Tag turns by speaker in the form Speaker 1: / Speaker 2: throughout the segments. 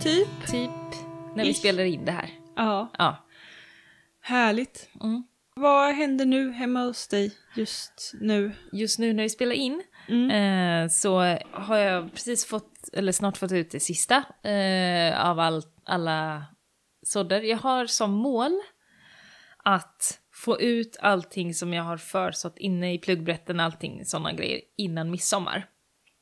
Speaker 1: Typ.
Speaker 2: princip typ. när vi
Speaker 1: Ish.
Speaker 2: spelar in det här.
Speaker 1: Ja,
Speaker 2: Ja.
Speaker 1: härligt.
Speaker 2: Mm.
Speaker 1: Vad händer nu hemma hos dig just nu?
Speaker 2: Just nu när vi spelar in
Speaker 1: Mm.
Speaker 2: eh, så har jag precis fått, eller snart fått ut det sista eh, av all, alla sådder. Jag har som mål att få ut allting som jag har försått inne i pluggbrätten, allting sådana grejer innan midsommar.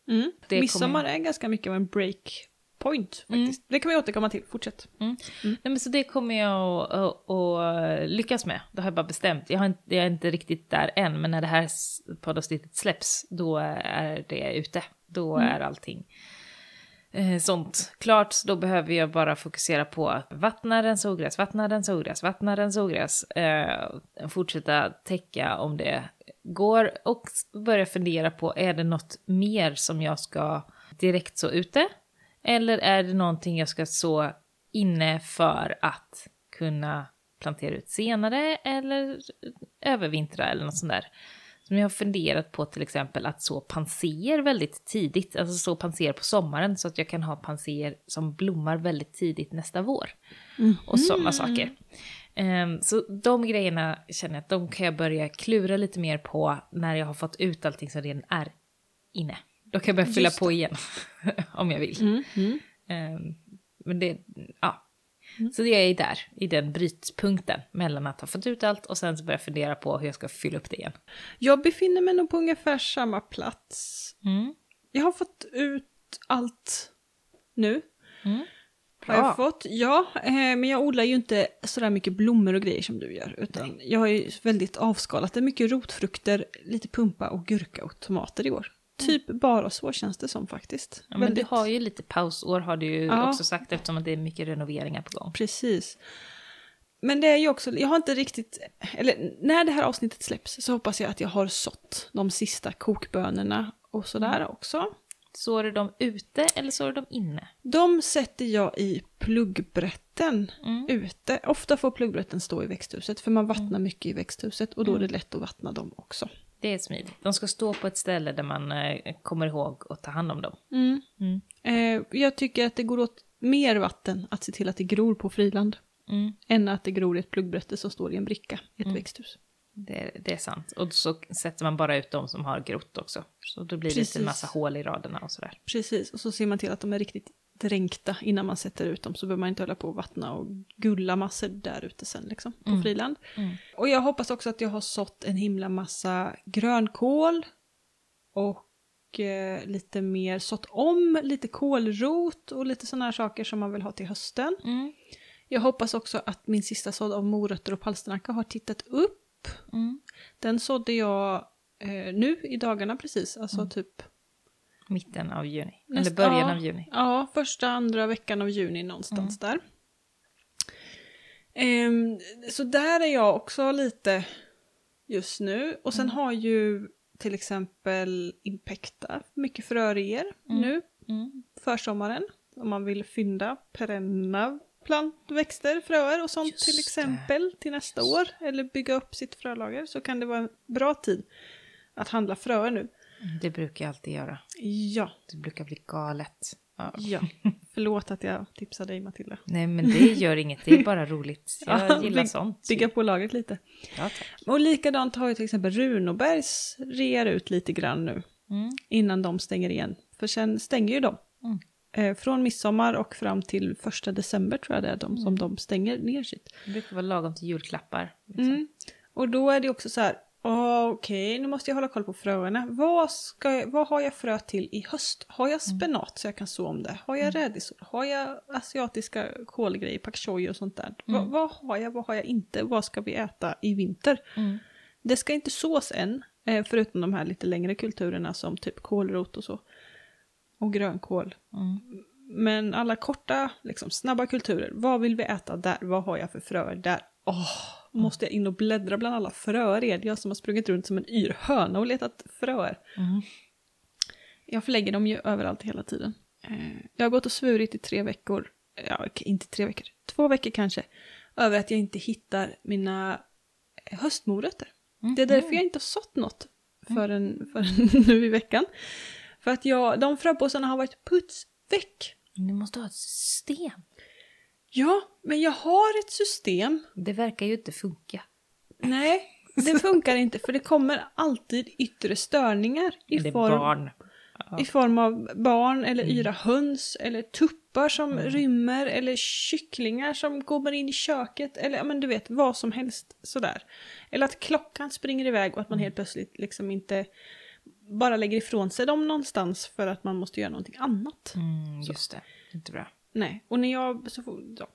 Speaker 1: Mm.
Speaker 2: det
Speaker 1: Midsommar
Speaker 2: kommer- Mm.
Speaker 1: är ganska mycket av en breakpoint faktiskt. Det kan vi återkomma till, fortsätt.
Speaker 2: Nej, men så det kommer jag att, att, att lyckas med. Det har jag bara bestämt. Jag, har inte, jag är inte riktigt där än, men när det här s- poddavsnittet släpps, då är det ute. Då är allting eh, sånt klart. Så då behöver jag bara fokusera på att vattna, rensa ogräs, vattna, rensa ogräs, vattna, rensa ogräs. Eh, fortsätta täcka om det går och börja fundera på, är det något mer som jag ska direkt så ute? Eller är det någonting jag ska så inne för att kunna plantera ut senare eller övervintra eller något sånt där. Som jag har funderat på till exempel att så panser väldigt tidigt, alltså så panser på sommaren så att jag kan ha panser som blommar väldigt tidigt nästa vår. Och sådana saker. Ehm, så de grejerna känner jag att de kan jag börja klura lite mer på när jag har fått ut allting som redan är inne. Då kan jag börja fylla
Speaker 1: Just Mm,
Speaker 2: på igen om jag vill. Ehm, men det, ja.
Speaker 1: Mm.
Speaker 2: Så det är jag där, i den brytpunkten mellan att ha fått ut allt och sen så börja fundera på hur jag ska fylla upp det igen.
Speaker 1: Jag befinner mig nog på ungefär samma plats.
Speaker 2: Mm.
Speaker 1: Jag har fått ut allt nu.
Speaker 2: Mm.
Speaker 1: Har jag
Speaker 2: Bra.
Speaker 1: fått, ja. Eh, men jag odlar ju inte sådär mycket blommor och grejer som du gör. Utan jag har ju väldigt avskalat det. Mycket rotfrukter, lite pumpa och gurka och tomater i år. Typ bara så känns det som faktiskt.
Speaker 2: Mm. Ja, men du har ju lite pausår har du ju
Speaker 1: Ja.
Speaker 2: också sagt eftersom att det är mycket renoveringar på gång.
Speaker 1: Precis. Men det är ju också, jag har inte riktigt, eller när det här avsnittet släpps så hoppas jag att jag har sått de sista kokbönorna och sådär
Speaker 2: Mm.
Speaker 1: också.
Speaker 2: Sår du dem ute eller sår du dem inne?
Speaker 1: De sätter jag i pluggbrätten
Speaker 2: Mm.
Speaker 1: ute. Ofta får pluggbrätten stå i växthuset för man vattnar mycket i växthuset och
Speaker 2: Mm.
Speaker 1: då är det lätt att vattna dem också.
Speaker 2: Det är smidigt. De ska stå på ett ställe där man eh, kommer ihåg att ta hand om dem. Mm.
Speaker 1: Eh, jag tycker att det går åt mer vatten att se till att det gror på friland
Speaker 2: Mm.
Speaker 1: än att det gror i ett pluggbrätte som står i en bricka i ett växthus.
Speaker 2: Det, det är sant. Och så sätter man bara ut de som har grott också. Så då blir det inte en
Speaker 1: Precis.
Speaker 2: massa hål i raderna och sådär.
Speaker 1: Precis, och så ser man till att de är riktigt dränkta innan man sätter ut dem så behöver man inte hålla på och vattna och gulla massor där ute sen liksom på friland.
Speaker 2: Mm.
Speaker 1: Och jag hoppas också att jag har sått en himla massa grönkål och eh, lite mer sått om, lite kålrot och lite sådana här saker som man vill ha till hösten.
Speaker 2: Mm.
Speaker 1: Jag hoppas också att min sista sådd av morötter och palsternacka har tittat upp.
Speaker 2: Mm.
Speaker 1: Den sådde jag eh, nu i dagarna precis, alltså typ
Speaker 2: Mitten av juni.
Speaker 1: Näst-
Speaker 2: eller början
Speaker 1: ja,
Speaker 2: av juni.
Speaker 1: Ja, första, andra veckan av juni någonstans
Speaker 2: Mm.
Speaker 1: där. Ehm, så där är jag också lite just nu. Och sen
Speaker 2: Mm.
Speaker 1: har ju till exempel Impecta mycket frörier nu,
Speaker 2: Mm.
Speaker 1: försommaren. Om man vill fynda perenna plantväxter, fröer och sånt
Speaker 2: Just
Speaker 1: till
Speaker 2: det.
Speaker 1: exempel till nästa år. Eller bygga upp sitt frölager så kan det vara en bra tid att handla fröer nu.
Speaker 2: Det brukar jag alltid göra.
Speaker 1: Ja,
Speaker 2: Det brukar bli galet. Ja.
Speaker 1: ja. Förlåt att jag tipsade dig Matilda.
Speaker 2: Nej men det gör inget, det är bara roligt. Jag
Speaker 1: Ja,
Speaker 2: gillar
Speaker 1: bygg-
Speaker 2: sånt.
Speaker 1: Bygga på lagret lite.
Speaker 2: Ja, tack.
Speaker 1: Och likadant har ju till exempel Runobergs rear ut lite grann nu
Speaker 2: Mm.
Speaker 1: innan de stänger igen. För sen stänger ju de.
Speaker 2: Mm.
Speaker 1: Eh, från midsommar och fram till första december tror jag det är de som de stänger ner sitt.
Speaker 2: Det brukar vara lagom till julklappar. Liksom.
Speaker 1: Mm. Och då är det också så här, "Ah, okej nu måste jag hålla koll på fröerna. Vad, ska jag, vad har jag frö till i höst? Har jag spenat så jag kan så om det? Har jag rädisor? Har jag asiatiska kålgrejer, pak choi och sånt där? Va, vad har jag, vad har jag inte? Vad ska vi äta i vinter?
Speaker 2: Mm.
Speaker 1: Det ska inte sås än, eh, förutom de här lite längre kulturerna som typ kålrot och så. Och grönkål.
Speaker 2: Mm.
Speaker 1: Men alla korta, liksom, snabba kulturer. Vad vill vi äta där? Vad har jag för fröer där? Åh, måste jag in och bläddra bland alla fröer? Är det jag som har sprungit runt som en yr höna och letat fröer?
Speaker 2: Mm.
Speaker 1: Jag förlägger dem ju överallt hela tiden. Eh, Jag har gått och svurit i tre veckor, ja okej, inte tre veckor, två veckor kanske, över att jag inte hittar mina eh, höstmorötter. Det är därför jag inte har sått något förrän, förrän nu i veckan. För att jag, de fröpåsarna har varit putsväck.
Speaker 2: Du måste ha ett system.
Speaker 1: Ja, men jag har ett system.
Speaker 2: Det verkar ju inte funka.
Speaker 1: Nej, det funkar inte för det kommer alltid yttre störningar i
Speaker 2: det är
Speaker 1: form
Speaker 2: barn. Ja.
Speaker 1: I form av barn eller yra höns eller tuppar som rymmer eller kycklingar som kommer in i köket eller ja, men du vet vad som helst sådär. Eller att klockan springer iväg och att man helt plötsligt liksom inte bara lägger ifrån sig dem någonstans för att man måste göra någonting annat.
Speaker 2: Mm, just det, inte bra.
Speaker 1: Nej, och när jag så får, ja,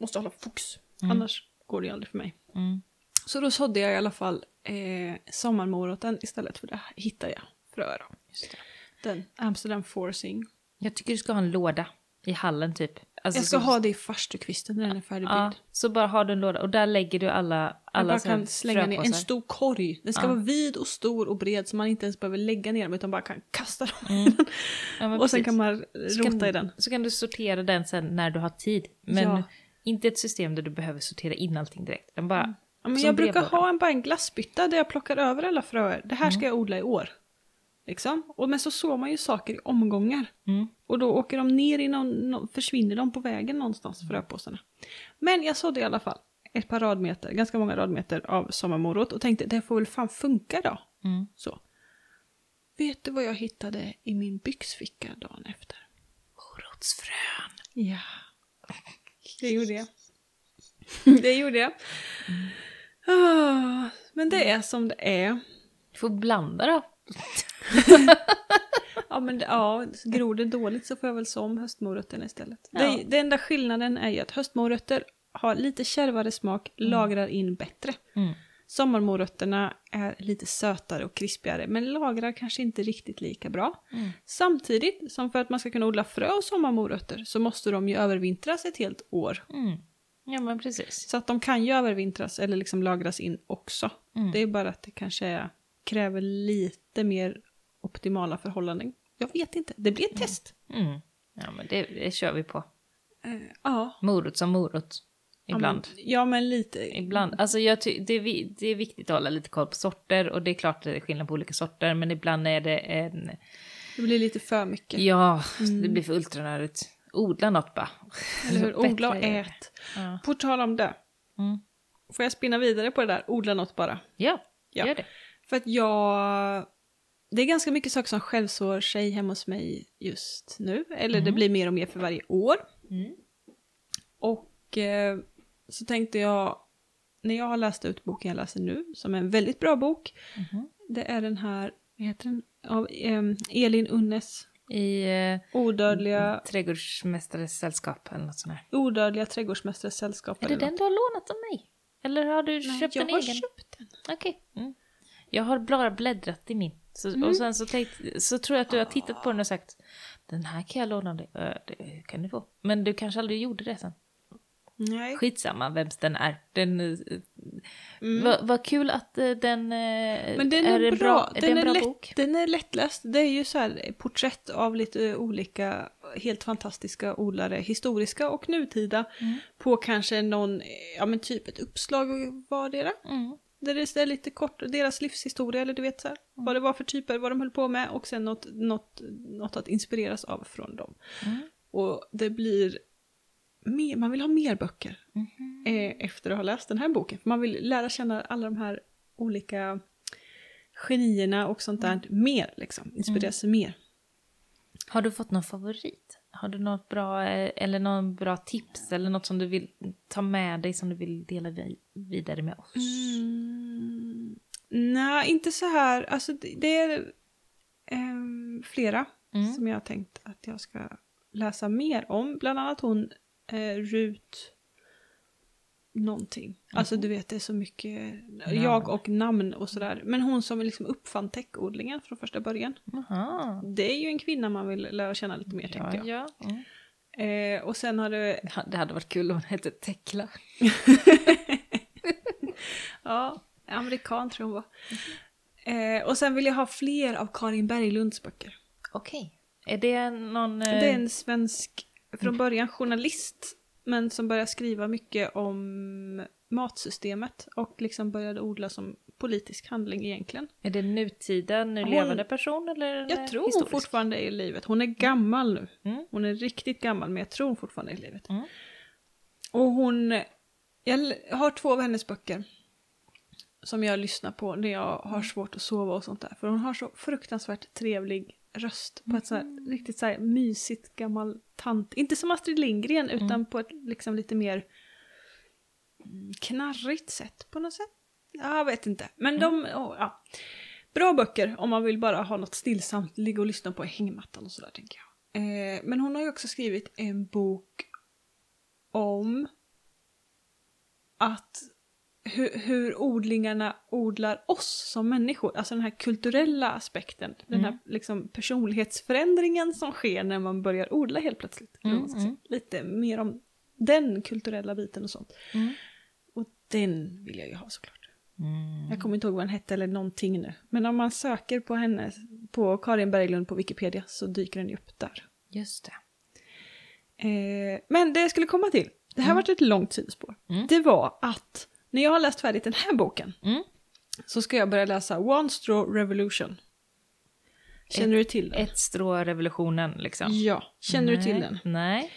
Speaker 1: måste hålla fokus annars går det ju aldrig för mig.
Speaker 2: Mm.
Speaker 1: Så då sådde jag i alla fall eh, sommarmoroten istället för det hittade jag fröer av.
Speaker 2: Just det.
Speaker 1: Den Amsterdam Forcing.
Speaker 2: Jag tycker du ska ha en låda i hallen typ. Alltså,
Speaker 1: Jag ska
Speaker 2: så,
Speaker 1: ha det i farstukvisten när den är färdigbyggd.
Speaker 2: ja, så bara har du en låda och där lägger du alla,
Speaker 1: Jag
Speaker 2: alla
Speaker 1: bara
Speaker 2: så här
Speaker 1: kan slänga ner en
Speaker 2: fröpåsar.
Speaker 1: stor korg. Den ska vara vid och stor och bred så man inte ens behöver lägga ner dem utan bara kan kasta dem i den.
Speaker 2: Mm. Ja, men
Speaker 1: och sen
Speaker 2: precis.
Speaker 1: kan man
Speaker 2: Så
Speaker 1: rota
Speaker 2: kan-
Speaker 1: i den.
Speaker 2: Så kan du sortera den sen när du har tid. Men
Speaker 1: Ja.
Speaker 2: inte ett system där du behöver sortera in allting direkt. Den bara,
Speaker 1: Mm. Ja, men
Speaker 2: som
Speaker 1: jag brukar
Speaker 2: brevlåda.
Speaker 1: ha en, bara en glassbytta där jag plockar över alla fröer. Det här
Speaker 2: Mm.
Speaker 1: ska jag odla i år. Liksom. Och, men så sår man ju saker i omgångar.
Speaker 2: Mm.
Speaker 1: Och då åker de ner i någon, nå- försvinner de på vägen någonstans, fröpåsarna. Men jag sådde i alla fall ett par radmeter, ganska många radmeter av sommarmorot och tänkte det får väl fan funka då.
Speaker 2: Mm.
Speaker 1: Så. Vet du vad jag hittade i min byxficka dagen efter?
Speaker 2: Morotsfrön.
Speaker 1: Ja. Det gjorde jag. det gjorde jag. Ah, men det är som det är.
Speaker 2: Du får blanda då.
Speaker 1: Ja, men det, ja, gror det dåligt så får jag väl så om höstmorötterna istället.
Speaker 2: Ja.
Speaker 1: Det, det enda skillnaden är ju att höstmorötter har lite kärvare smak, lagrar in bättre.
Speaker 2: Mm.
Speaker 1: Sommarmorötterna är lite sötare och krispigare, men lagrar kanske inte riktigt lika bra.
Speaker 2: Mm.
Speaker 1: Samtidigt som för att man ska kunna odla frö och sommarmorötter så måste de ju övervintras ett helt år.
Speaker 2: Mm. Ja men precis.
Speaker 1: Så att de kan ju övervintras eller liksom lagras in också.
Speaker 2: Mm.
Speaker 1: Det är bara att det kanske är, kräver lite mer optimala förhållanden. Jag vet inte, det blir ett test.
Speaker 2: Mm. Ja men det, det kör vi på.
Speaker 1: Eh, ja.
Speaker 2: Morot som morot. Ibland.
Speaker 1: Ja men, ja, men lite.
Speaker 2: Ibland. Alltså jag ty- det, är vi- det är viktigt att hålla lite koll på sorter och det är klart att det är skillnad på olika sorter men ibland är det en...
Speaker 1: Det blir lite för mycket.
Speaker 2: Ja, det blir för ultranördigt. Odla något bara.
Speaker 1: Mm. Eller hur? Odla och
Speaker 2: Bättre är det.
Speaker 1: ät.
Speaker 2: Ja.
Speaker 1: På tal om det.
Speaker 2: Mm.
Speaker 1: Får jag spinna vidare på det där? Odla något bara.
Speaker 2: Ja,
Speaker 1: Ja.
Speaker 2: gör det.
Speaker 1: För att jag... Det är ganska mycket saker som självsår sig hemma hos mig just nu. Eller det blir mer och mer för varje år.
Speaker 2: Mm.
Speaker 1: Och eh, så tänkte jag, när jag har läst ut boken jag läser nu, som är en väldigt bra bok,
Speaker 2: Mhm.
Speaker 1: det är den här, vad heter den? Av ehm, Elin Unnes
Speaker 2: I eh,
Speaker 1: Odödliga,
Speaker 2: trädgårdsmästares sällskap eller något sånt här.
Speaker 1: odödliga trädgårdsmästares sällskap.
Speaker 2: Mm. Är det
Speaker 1: eller
Speaker 2: den du har lånat av mig? Eller har du
Speaker 1: Nej,
Speaker 2: köpt
Speaker 1: jag
Speaker 2: en
Speaker 1: har
Speaker 2: egen?
Speaker 1: köpt den.
Speaker 2: Okej. Mm. Jag har bara bläddrat i min. Så,
Speaker 1: Mm.
Speaker 2: Och sen så, tänkt, så tror jag att du har tittat på den och sagt den här kan jag låna dig. Ö, det kan du få. Men du kanske aldrig gjorde det sen.
Speaker 1: Nej.
Speaker 2: Skitsamma vems den är. Den, eh, Vad vad kul att eh, den, eh,
Speaker 1: Mm. Men den är,
Speaker 2: en
Speaker 1: bra.
Speaker 2: Är
Speaker 1: Den,
Speaker 2: det en
Speaker 1: är
Speaker 2: bra
Speaker 1: lätt,
Speaker 2: bok?
Speaker 1: den är lättläst. Det är ju så här eh, porträtt av lite eh, olika helt fantastiska odlare, historiska och nutida,
Speaker 2: Mm.
Speaker 1: på kanske någon, eh, ja men typ ett uppslag vardera.
Speaker 2: Mm.
Speaker 1: Där det är lite kort, deras livshistoria eller du vet så här,
Speaker 2: Mm.
Speaker 1: vad det var för typer, vad de höll på med och sen något, något, något att inspireras av från dem.
Speaker 2: Mm.
Speaker 1: Och det blir, mer, man vill ha mer böcker eh, efter att ha läst den här boken. För man vill lära känna alla de här olika genierna och sånt där mer, liksom. Inspireras mer.
Speaker 2: Har du fått någon favorit? Har du något bra, eh, eller någon bra tips eller något som du vill ta med dig som du vill dela vi- vidare med oss?
Speaker 1: Mm. Nej, inte så här. Alltså det, det är ehm, flera
Speaker 2: Mm.
Speaker 1: som jag har tänkt att jag ska läsa mer om. Bland annat hon eh, Rut någonting. Alltså du vet det är så mycket jag och namn och sådär. Men hon som liksom uppfann täckodlingen från första början.
Speaker 2: Aha.
Speaker 1: Det är ju en kvinna man vill lära känna lite mer
Speaker 2: Ja,
Speaker 1: tänkte jag.
Speaker 2: ja. Mm.
Speaker 1: Eh, och sen har du
Speaker 2: Det ha- Det hade varit kul om hon hette Tekla.
Speaker 1: Ja, amerikan tror jag hon var. Eh, och sen vill jag ha fler av Karin Berglunds böcker.
Speaker 2: Okej. Är det någon... eh, Mm.
Speaker 1: Det är en svensk, från början journalist, men som började skriva mycket om matsystemet och liksom började odla som politisk handling egentligen.
Speaker 2: Är det nutida, nu
Speaker 1: Hon-
Speaker 2: levande person eller en, eh,
Speaker 1: Jag tror hon
Speaker 2: historisk?
Speaker 1: fortfarande är i livet. Hon är gammal nu.
Speaker 2: Mm.
Speaker 1: Hon är riktigt gammal, men jag tror hon fortfarande är i livet.
Speaker 2: Mm.
Speaker 1: Och hon, jag l- har två av hennes böcker som jag lyssnar på när jag har svårt att sova och sånt där. För hon har så fruktansvärt trevlig röst på ett så här, riktigt så här mysigt gammal tant. Inte som Astrid Lindgren utan på ett liksom lite mer mm, knarrigt sätt på något sätt. Jag vet inte. Men de, åh, ja. Bra böcker om man vill bara ha något stillsamt, ligga och lyssna på i hängmattan och sådär tänker jag. Eh, men hon har ju också skrivit en bok om att hur, hur odlingarna odlar oss som människor. Alltså den här kulturella aspekten, den här liksom personlighetsförändringen som sker när man börjar odla helt plötsligt. eller vad man ska säga. Lite mer om den kulturella biten och sånt.
Speaker 2: Mm.
Speaker 1: Och den vill jag ju ha såklart.
Speaker 2: Mm.
Speaker 1: Jag kommer inte ihåg vad den hette eller någonting nu. Men om man söker på henne, på Karin Berglund på Wikipedia så dyker den ju upp där.
Speaker 2: Just det.
Speaker 1: Eh, men det jag skulle komma till, det
Speaker 2: Mm.
Speaker 1: här var ett långt sidospår. Det var att när jag har läst färdigt den här boken
Speaker 2: Mm.
Speaker 1: så ska jag börja läsa One Straw Revolution. Känner du till den?
Speaker 2: Ett strå revolutionen liksom.
Speaker 1: Ja, känner du till
Speaker 2: Nej.
Speaker 1: den?
Speaker 2: Nej.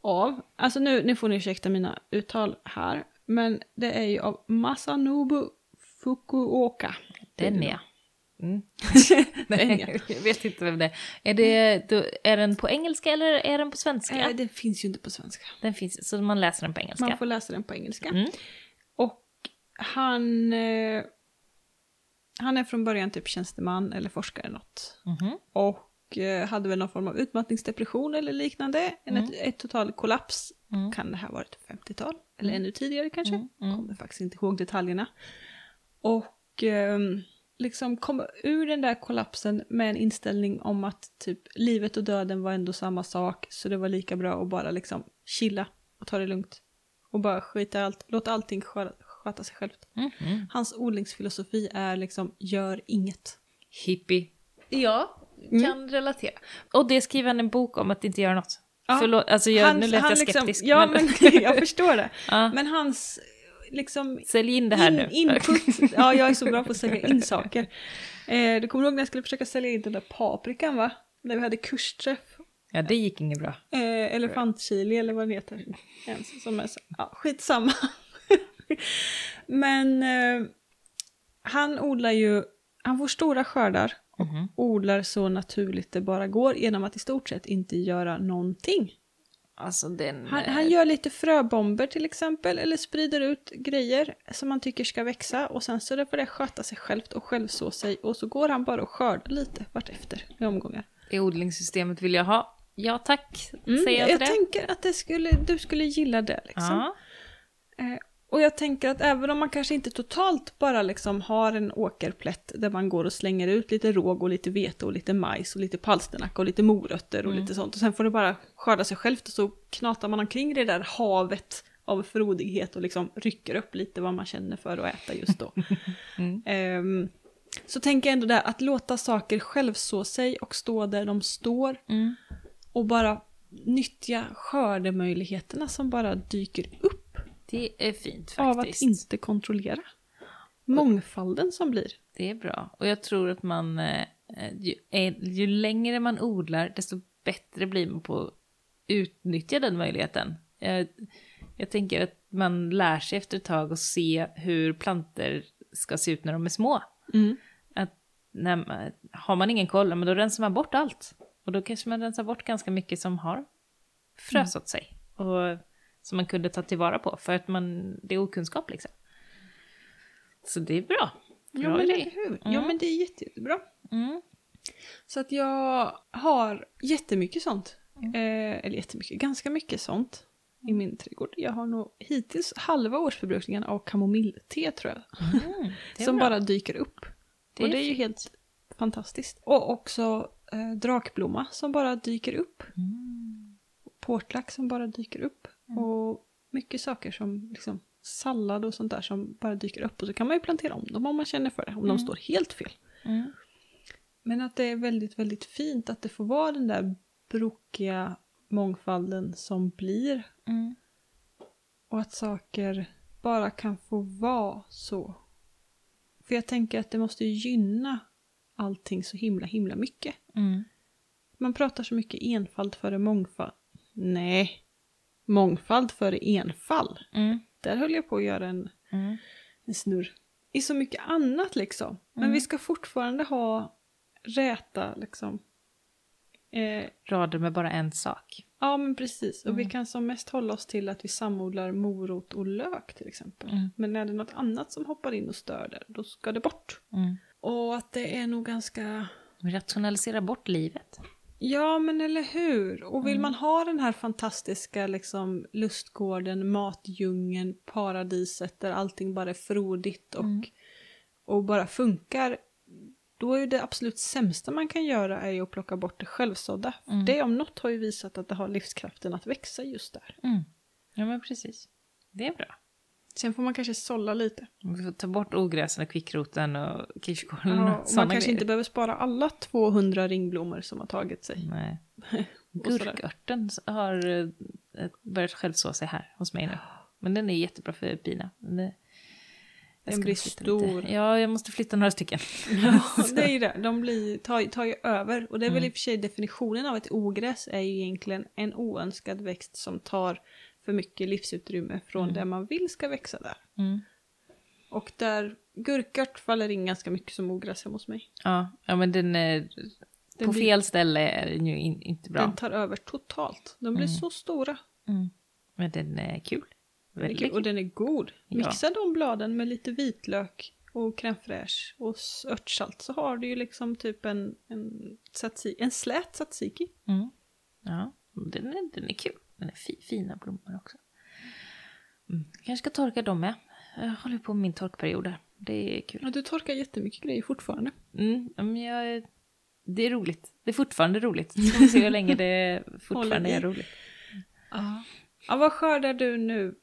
Speaker 1: Av, alltså nu, nu får ni ursäkta mina uttal här, men det är ju av Masanobu Fukuoka.
Speaker 2: Den ja.
Speaker 1: Den
Speaker 2: Mm.
Speaker 1: ja.
Speaker 2: Nej, jag vet inte vem det är. Är, det, då, är den på engelska eller är den på svenska?
Speaker 1: Eh, den finns ju inte på svenska.
Speaker 2: Den finns, så man läser den på engelska.
Speaker 1: Man får läsa den på engelska.
Speaker 2: Mm.
Speaker 1: Och han, eh, han är från början typ tjänsteman eller forskare något.
Speaker 2: Mhm.
Speaker 1: Och eh, hade väl någon form av utmattningsdepression eller liknande. En ett, ett total kollaps.
Speaker 2: Mm.
Speaker 1: Kan det här vara ett 50-tal? Eller ännu tidigare kanske?
Speaker 2: Mm, mm.
Speaker 1: Kommer faktiskt inte ihåg detaljerna. Och ehm, liksom kom ur den där kollapsen med en inställning om att typ livet och döden var ändå samma sak. Så det var lika bra att bara liksom chilla och ta det lugnt. Och bara skita i allt, låt allting sköra- sköta sig självt.
Speaker 2: Mhm.
Speaker 1: Hans odlingsfilosofi är liksom gör inget.
Speaker 2: Hippie. Ja, kan relatera. Och det skriver han en bok om att inte göra något.
Speaker 1: Ja.
Speaker 2: Förlåt, alltså jag, nu lät jag
Speaker 1: liksom-
Speaker 2: skeptisk.
Speaker 1: ja,
Speaker 2: men-
Speaker 1: men, jag förstår det.
Speaker 2: Ja.
Speaker 1: Men hans liksom
Speaker 2: Sälj in det här nu.
Speaker 1: in, input, ja jag är så bra på att sälja in saker. Eh, du kommer ihåg när jag skulle försöka sälja in den där paprikan va? När vi hade kursträff.
Speaker 2: Ja, det gick inget bra.
Speaker 1: Eh, elefantchili eller vad den heter. En som är så, ja, skitsamma. Men eh, han odlar ju, han får stora skördar och
Speaker 2: Mhm.
Speaker 1: odlar så naturligt det bara går genom att i stort sett inte göra någonting.
Speaker 2: Alltså den...
Speaker 1: Han, han gör lite fröbomber till exempel, eller sprider ut grejer som man tycker ska växa och sen så det får det sköta sig självt och självså sig och så går han bara och skördar lite vartefter i omgångar.
Speaker 2: Det odlingssystemet vill jag ha. Ja tack,
Speaker 1: Mm,
Speaker 2: säger jag
Speaker 1: jag
Speaker 2: till det.
Speaker 1: tänker att det skulle, du skulle gilla det liksom.
Speaker 2: Ja.
Speaker 1: Eh, och jag tänker att även om man kanske inte totalt bara liksom har en åkerplätt där man går och slänger ut lite råg och lite vete och lite majs och lite palsternacka och lite morötter och lite sånt och sen får det bara skörda sig självt och så knatar man omkring i det där havet av frodighet och liksom rycker upp lite vad man känner för att äta just då. Ehm, så tänker jag ändå där att låta saker självså sig och stå där de står
Speaker 2: Mm.
Speaker 1: och bara nyttja skördemöjligheterna som bara dyker upp
Speaker 2: Det är fint
Speaker 1: av att
Speaker 2: faktiskt.
Speaker 1: inte kontrollera. Mångfalden som blir.
Speaker 2: Det är bra. Och jag tror att man, eh, ju, eh, ju längre man odlar, desto bättre blir man på att utnyttja den möjligheten. Jag, jag tänker att man lär sig efter ett tag att se hur planter ska se ut när de är små. Mm. Att när man, har man ingen koll, ja, men då rensar man bort allt. Och då kanske man rensar bort ganska mycket som har frös åt sig. Och som man kunde ta tillvara på, för att man, det är okunskap liksom. Så det är bra.
Speaker 1: Ja,
Speaker 2: Bra
Speaker 1: men,
Speaker 2: idé.
Speaker 1: eller hur? ja
Speaker 2: Mm.
Speaker 1: men det är jätte, jättebra.
Speaker 2: Mm.
Speaker 1: Så att jag har jättemycket sånt.
Speaker 2: Mm.
Speaker 1: Eh, eller jättemycket, ganska mycket sånt i min trädgård. Jag har nog hittills halva årsförbrukningen av kamomillte tror jag.
Speaker 2: Det är
Speaker 1: som
Speaker 2: bra.
Speaker 1: bara dyker upp.
Speaker 2: Det
Speaker 1: och
Speaker 2: är
Speaker 1: det är ju helt fantastiskt. Och också eh, drakblomma som bara dyker upp. Portlack som bara dyker upp. Och mycket saker som liksom sallad och sånt där som bara dyker upp. Och så kan man ju plantera om dem om man känner för det, om de står helt fel.
Speaker 2: Mm.
Speaker 1: Men att det är väldigt, väldigt fint att det får vara den där brokiga mångfalden som blir.
Speaker 2: Mm.
Speaker 1: Och att saker bara kan få vara så. För jag tänker att det måste ju gynna allting så himla, himla mycket. Man pratar så mycket enfald före mångfald. Nej, mångfald före enfall.
Speaker 2: Mm.
Speaker 1: Där höll jag på att göra en,
Speaker 2: Mm.
Speaker 1: en snurr. I så mycket annat liksom. Men
Speaker 2: Mm.
Speaker 1: vi ska fortfarande ha räta liksom. Eh,
Speaker 2: Rader med bara en sak.
Speaker 1: ja men precis. Och vi
Speaker 2: Mm.
Speaker 1: kan som mest hålla oss till att vi samodlar morot och lök till exempel.
Speaker 2: Mm.
Speaker 1: Men är det något annat som hoppar in och stör där, då ska det bort.
Speaker 2: Mm.
Speaker 1: Och att det är nog ganska
Speaker 2: Rationalisera bort livet.
Speaker 1: Ja, men eller hur? Och vill
Speaker 2: Mm.
Speaker 1: man ha den här fantastiska liksom, lustgården, matdjungeln, paradiset där allting bara är frodigt och,
Speaker 2: Mm.
Speaker 1: och bara funkar, då är ju det absolut sämsta man kan göra är ju att plocka bort det självsådda. För
Speaker 2: Mm.
Speaker 1: Det om något har ju visat att det har livskraften att växa just där.
Speaker 2: Mm. Ja, men precis. Det är bra.
Speaker 1: Sen får man kanske sålla lite.
Speaker 2: Vi får ta bort ogräsen och kvickroten och kirskålen
Speaker 1: Ja, och
Speaker 2: och
Speaker 1: man
Speaker 2: sådana
Speaker 1: kanske
Speaker 2: grejer.
Speaker 1: inte behöver spara alla 200 ringblommor som har tagit sig.
Speaker 2: Nej.
Speaker 1: Och sådär.
Speaker 2: Gurkörten har eh, börjat självså sig här hos mig nu. Men den är jättebra för bina. Men det- jag
Speaker 1: Den
Speaker 2: ska
Speaker 1: blir
Speaker 2: flytta
Speaker 1: stor.
Speaker 2: Lite. Ja, jag måste flytta några stycken.
Speaker 1: Ja, det är ju det. De blir, tar, ju- tar ju över. Och det är
Speaker 2: Mm.
Speaker 1: väl i och för sig definitionen av ett ogräs är ju egentligen en oönskad växt som tar för mycket livsutrymme från det man vill ska växa där.
Speaker 2: Mm.
Speaker 1: Och där gurkört faller in ganska mycket som ogräs hemma hos mig.
Speaker 2: Ja, ja, men den är...
Speaker 1: Den
Speaker 2: på
Speaker 1: blir-
Speaker 2: fel ställe är den ju in, inte bra.
Speaker 1: Den tar över totalt. De blir så stora.
Speaker 2: Mm. Men den är kul. Väldigt kul.
Speaker 1: Och den är god.
Speaker 2: Ja.
Speaker 1: Mixa de bladen med lite vitlök och crème fraîche och s- örtsalt så har du ju liksom typ en, en, tzatziki, en slät tzatziki.
Speaker 2: Mm. Ja, den är, den är kul. Den är fi, fina blommor också. Mm. Jag kanske ska torka dem med. Jag håller på med min torkperiod här. Det är kul.
Speaker 1: Ja, du torkar jättemycket grejer fortfarande.
Speaker 2: Mm. ja, Men jag, det är roligt. Det är fortfarande roligt. Så får vi se hur länge det fortfarande
Speaker 1: Håller i.
Speaker 2: är roligt.
Speaker 1: Ja. ja, vad skördar du nu?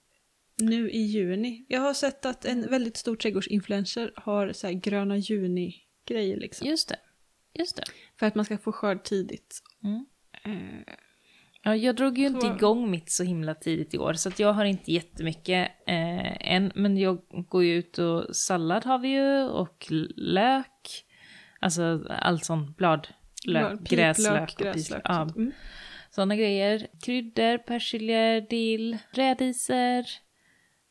Speaker 1: Nu i juni. Jag har sett att en väldigt stor trädgårdsinfluencer har så här gröna juni-grejer liksom.
Speaker 2: Just det. Just det.
Speaker 1: För att man ska få skörd tidigt.
Speaker 2: Mm.
Speaker 1: Eh,
Speaker 2: Ja, jag drog ju inte
Speaker 1: Så-
Speaker 2: igång mitt så himla tidigt i år, så att jag har inte jättemycket eh, än. Men jag går ju ut och sallad har vi ju, och lök. Alltså allt sånt, bladlök,
Speaker 1: piplök,
Speaker 2: gräslök, och pislök.
Speaker 1: gräslök.
Speaker 2: Ja,
Speaker 1: sånt. Mm.
Speaker 2: sådana grejer. Kryddor, persilja, dill, rädisor.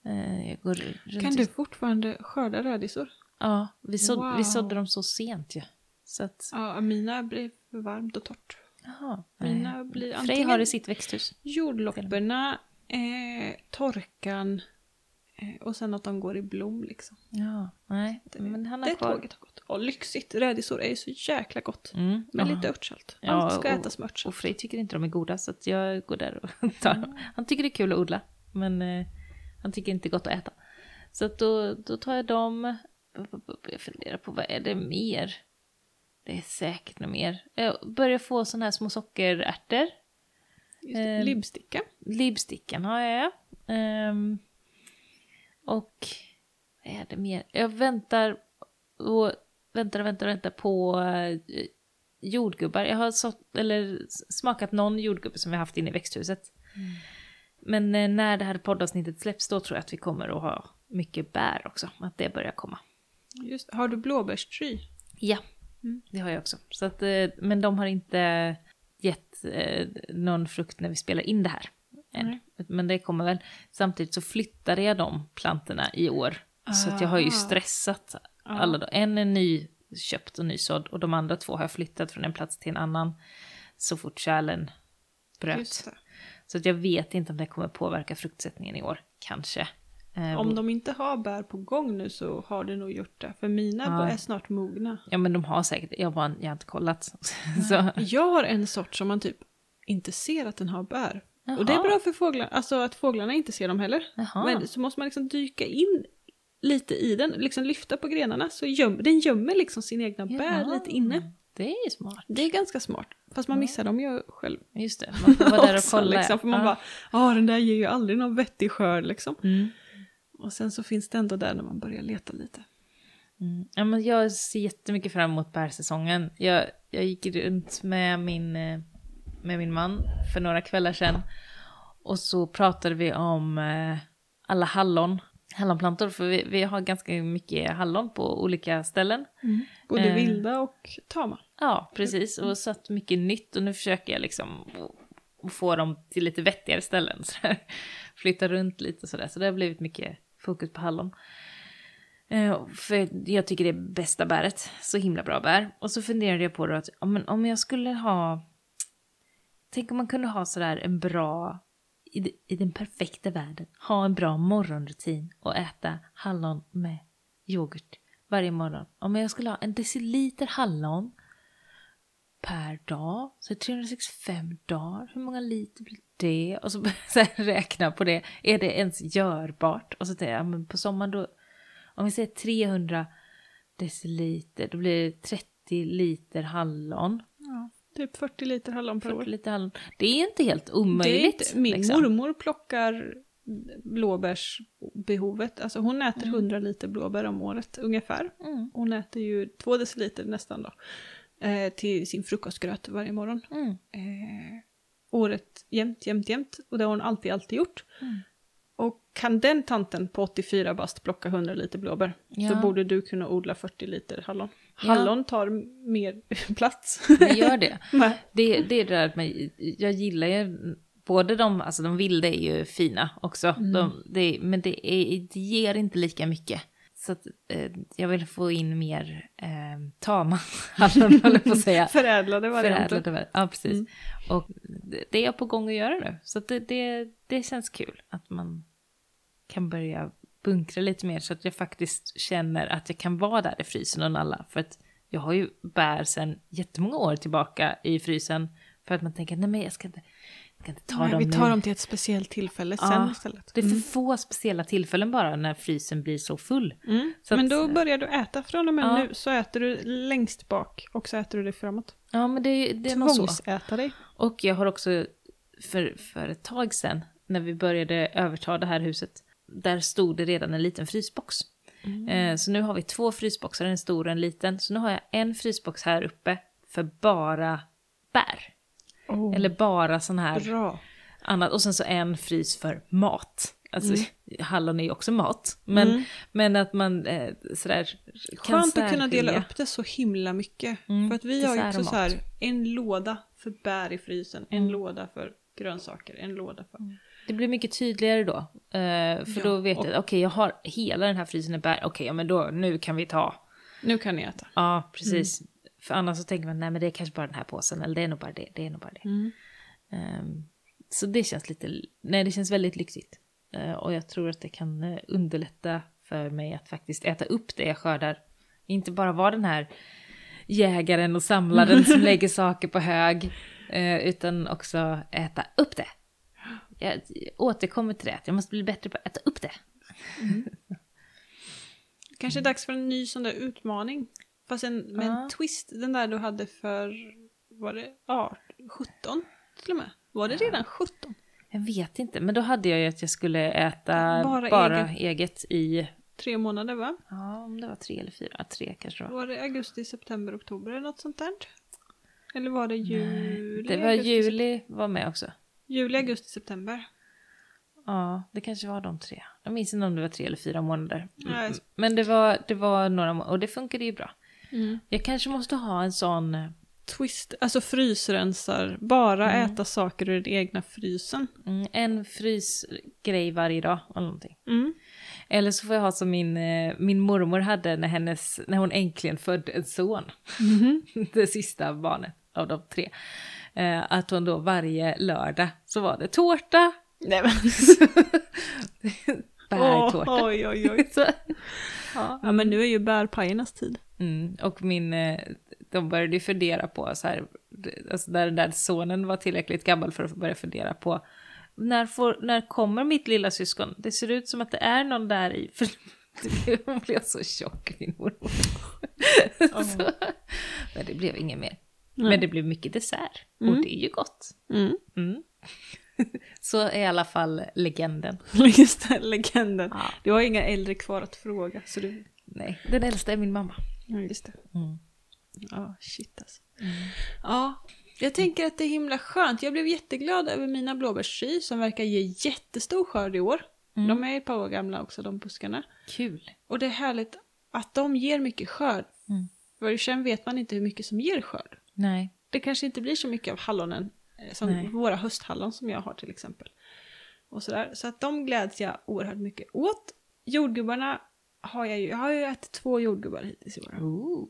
Speaker 2: Eh, jag går runt
Speaker 1: Kan
Speaker 2: och-
Speaker 1: du fortfarande skörda rädisor?
Speaker 2: Ja, vi, såd,
Speaker 1: Wow.
Speaker 2: vi sådde dem så sent ju. Så att,
Speaker 1: Ja, mina blir för varmt och torrt.
Speaker 2: jaha.
Speaker 1: Mina
Speaker 2: nej.
Speaker 1: blir
Speaker 2: Frej har
Speaker 1: antingen-
Speaker 2: i sitt växthus.
Speaker 1: Jordlopporna, eh, torkan eh, och sen att de går i blom liksom.
Speaker 2: Ja, nej. Men han har
Speaker 1: det
Speaker 2: kvar...
Speaker 1: tåget har gått. Ja, lyxigt. Rädisor är ju så jäkla gott.
Speaker 2: Mm,
Speaker 1: Med
Speaker 2: ja.
Speaker 1: lite örtsalt.
Speaker 2: Ja,
Speaker 1: Allt ska
Speaker 2: och-
Speaker 1: ätas med
Speaker 2: Och
Speaker 1: örtsalt.
Speaker 2: Frej tycker inte de är goda så att jag går där och tar dem. Han tycker det är kul att odla men eh, han tycker inte det är gott att äta. Så att då, då tar jag dem. Jag funderar på vad är det mer? Det är säkert något mer. Jag börjar få sådana här små sockerärtor.
Speaker 1: Just det,
Speaker 2: eh,
Speaker 1: Libbsticka.
Speaker 2: Libbstickan har jag. Ehm, och vad är det mer? Jag väntar och väntar och väntar och väntar på eh, jordgubbar. Jag har sått, eller s- smakat någon jordgubbe som vi haft inne i växthuset. Men eh, när det här poddavsnittet släpps då tror jag att vi kommer att ha mycket bär också. Att det börjar komma.
Speaker 1: Just, har du blåbärstry?
Speaker 2: Ja,
Speaker 1: Mm.
Speaker 2: det har jag också. Så att, eh, men de har inte gett eh, någon frukt när vi spelar in det här. Än.
Speaker 1: Nej.
Speaker 2: Men det kommer väl. Samtidigt så flyttade jag de plantorna i år. Så att jag har
Speaker 1: Ah.
Speaker 2: ju stressat alla. Då. En är nyköpt och nysådd och de andra två har jag flyttat från en plats till en annan så fort kärlen bröt.
Speaker 1: Just det.
Speaker 2: Så att jag vet inte om det kommer påverka fruktsättningen i år, kanske. Eh,
Speaker 1: Om de inte har bär på gång nu så har det nog gjort det. För mina
Speaker 2: Ja.
Speaker 1: är snart mogna.
Speaker 2: Ja men de har säkert, jag, bara, jag har inte kollat. så,
Speaker 1: Jag har en sort som man typ inte ser att den har bär. Och det är
Speaker 2: Jaha.
Speaker 1: bra för fåglarna, alltså att fåglarna inte ser dem heller.
Speaker 2: Jaha.
Speaker 1: Men så måste man liksom dyka in lite i den, liksom lyfta på grenarna. Så göm, den gömmer liksom sina egna bär
Speaker 2: Jaha.
Speaker 1: lite inne.
Speaker 2: Det är ju smart.
Speaker 1: Det är ganska smart. Fast man missar dem ju själv.
Speaker 2: Just det, man får vara där och
Speaker 1: också,
Speaker 2: kolla.
Speaker 1: Liksom, för man
Speaker 2: ja.
Speaker 1: bara, ja den där ger ju aldrig någon vettig skörd liksom.
Speaker 2: Mm.
Speaker 1: Och sen så finns det ändå där när man börjar leta lite.
Speaker 2: Mm. Ja, men jag ser jättemycket fram emot bärsäsongen. Jag, jag gick runt med min, eh, med min man för några kvällar sedan och så pratade vi om eh, alla hallon, hallonplantor, för vi, vi har ganska mycket hallon på olika ställen.
Speaker 1: Mm. Både
Speaker 2: Eh.
Speaker 1: vilda och tama.
Speaker 2: Ja, precis. Och satt mycket nytt och nu försöker jag liksom och få dem till lite vettigare ställen. Så där. Flytta runt lite sådär. Så det har blivit mycket fokus på hallon. Eh, För jag tycker det är bästa bäret. Så himla bra bär. Och så funderade jag på då att ja, men om jag skulle ha... Tänk om man kunde ha sådär en bra... I, d- I den perfekta världen. Ha en bra morgonrutin och äta hallon med yoghurt varje morgon. Om jag skulle ha en deciliter hallon per dag. Så 365 dagar, hur många liter blir det? Och så, så här, räkna på det. Är det ens görbart? Och så tänker jag, ja, men på sommaren då, om vi säger 300 deciliter, då blir det 30 liter hallon.
Speaker 1: Ja, typ 40 liter hallon per
Speaker 2: 40
Speaker 1: år.
Speaker 2: liter hallon. Det är inte helt
Speaker 1: Det är
Speaker 2: omöjligt.
Speaker 1: inte, min
Speaker 2: liksom.
Speaker 1: mormor plockar blåbärsbehovet. Alltså hon äter 100 liter blåbär om året ungefär.
Speaker 2: Mm,
Speaker 1: Hon äter ju två deciliter nästan då. Eh, till sin frukostgröt varje morgon.
Speaker 2: mm,
Speaker 1: Eh, året jämt, jämt, jämt. Och det har hon alltid, alltid gjort.
Speaker 2: Mm.
Speaker 1: Och kan den tanten på 84 bast plocka 100 liter blåbär så
Speaker 2: Ja.
Speaker 1: borde du kunna odla 40 liter hallon.
Speaker 2: Ja.
Speaker 1: Hallon tar mer plats.
Speaker 2: det gör det.
Speaker 1: Nej.
Speaker 2: Det, det är det där med, jag gillar ju både de, alltså de vilda är ju fina också, de, det, men det, är, det ger inte lika mycket. Så att, eh, jag vill få in mer eh, tama hallon, höll jag på att säga.
Speaker 1: Förädlade varianter.
Speaker 2: Förädlade var- Ja, precis.
Speaker 1: Mm.
Speaker 2: Och det- det är jag på gång att göra nu. Så att det, det, det känns kul att man kan börja bunkra lite mer så att jag faktiskt känner att jag kan vara där i frysen och nalla. För att jag har ju bär sedan jättemånga år tillbaka i frysen. För att man tänker, nej men jag ska inte, jag ska inte ta
Speaker 1: Nej,
Speaker 2: dem
Speaker 1: vi tar
Speaker 2: nu.
Speaker 1: dem till ett speciellt tillfälle
Speaker 2: Ja,
Speaker 1: sen istället.
Speaker 2: Det är för få speciella tillfällen bara när frysen blir så full.
Speaker 1: Mm.
Speaker 2: Så att-
Speaker 1: men då börjar du äta från och med
Speaker 2: Ja.
Speaker 1: nu så äter du längst bak och så äter du det framåt.
Speaker 2: Ja men det, är- det är nog så.
Speaker 1: Tvångsäta dig.
Speaker 2: Och jag har också för, för ett tag sedan, när vi började överta det här huset, där stod det redan en liten frysbox.
Speaker 1: Mm.
Speaker 2: Eh, så nu har vi två frysboxar, en stor och en liten. Så nu har jag en frysbox här uppe för bara bär.
Speaker 1: Oh,
Speaker 2: Eller bara sån här
Speaker 1: Bra.
Speaker 2: annat. Och sen så en frys för mat. Alltså
Speaker 1: Mm.
Speaker 2: hallon är ju också mat. Men, men att man eh, sådär kan
Speaker 1: Skönt att kunna dela
Speaker 2: särskilja.
Speaker 1: upp det så himla mycket.
Speaker 2: Mm,
Speaker 1: För att vi har ju
Speaker 2: dessert
Speaker 1: också
Speaker 2: och
Speaker 1: så
Speaker 2: mat.
Speaker 1: här en låda för bär i frysen, en
Speaker 2: Mm.
Speaker 1: låda för grönsaker, en låda för...
Speaker 2: Det blir mycket tydligare då. Eh, för
Speaker 1: Ja,
Speaker 2: då vet
Speaker 1: och-
Speaker 2: jag, okej jag har hela den här frysen är bär, okej ja, men då, nu kan vi ta.
Speaker 1: Nu kan ni äta.
Speaker 2: Ja, precis. För annars så tänker man, nej men det är kanske bara den här påsen, eller det är nog bara det, det är nog bara det. Ehm, så det känns lite, nej det känns väldigt lyxigt. Eh, och jag tror att det kan eh, underlätta för mig att faktiskt äta upp det jag skördar. Inte bara vara den här jägaren och samlaren som lägger saker på hög, eh, utan också äta upp det. Jag återkommer till det, att jag måste bli bättre på att äta upp det.
Speaker 1: Kanske är dags för en ny sån där utmaning. Fast en, med en
Speaker 2: Mm. Ja.
Speaker 1: twist, den där du hade för, var det, ja, 17 till och med? Var det redan 17?
Speaker 2: Jag vet inte, men då hade jag ju att jag skulle äta
Speaker 1: Bara
Speaker 2: bara, eget. i,
Speaker 1: Tre månader va?
Speaker 2: ja om det var tre eller fyra, ja, tre kanske det var.
Speaker 1: Var det augusti, september, oktober eller något sånt där? Eller var det juli?
Speaker 2: Det var
Speaker 1: augusti,
Speaker 2: juli var med också.
Speaker 1: Juli, augusti, september.
Speaker 2: Ja, det kanske var de tre. Jag minns inte om det var tre eller fyra månader.
Speaker 1: Nej.
Speaker 2: Mm. Men det var, det var några månader, och det funkade ju bra. Jag kanske måste ha en sån,
Speaker 1: Twist, alltså frysrensar. Bara äta saker ur den egna frysen.
Speaker 2: mm, en frysgrej varje dag eller någonting.
Speaker 1: Mm.
Speaker 2: Eller så får jag ha som min, eh, min mormor hade när, hennes, när hon äntligen födde en son. det sista barnet av de tre. Eh, Att hon då varje lördag så var det tårta,
Speaker 1: Nej men.
Speaker 2: bärtårta.
Speaker 1: oj, oj, oj.
Speaker 2: Så, ja.
Speaker 1: Ja men nu är ju bärpajernas tid.
Speaker 2: Mm, och min, eh, de började ju fundera på så här, alltså när den där sonen var tillräckligt gammal för att börja fundera på när, får, när kommer mitt lilla syskon? Det ser ut som att det är någon där i. För hon blev så tjock, min mormor. så, men det blev inget mer. Men det blev mycket dessert. Och det är ju gott.
Speaker 1: Mm.
Speaker 2: Mm. så är i alla fall legenden.
Speaker 1: Just det, legenden.
Speaker 2: Ja.
Speaker 1: Du har inga äldre kvar att fråga. Så du...
Speaker 2: Nej, den äldsta är min mamma.
Speaker 1: ja, just det.
Speaker 2: Mm.
Speaker 1: Ja, shit alltså. Ja, jag tänker att det är himla skönt. Jag blev jätteglad över mina blåbärssy som verkar ge jättestor skörd i år. De är ett par år gamla också, de buskarna.
Speaker 2: Kul.
Speaker 1: Och det är härligt att de ger mycket skörd.
Speaker 2: Mm.
Speaker 1: För sen vet man inte hur mycket som ger skörd.
Speaker 2: Nej.
Speaker 1: Det kanske inte blir så mycket av hallonen Eh, Som
Speaker 2: Nej.
Speaker 1: våra hösthallon som jag har till exempel. Och sådär. Så att de gläds jag oerhört mycket åt. Jordgubbarna har jag ju, jag har ju ätit två jordgubbar hittills i år.
Speaker 2: Ooh.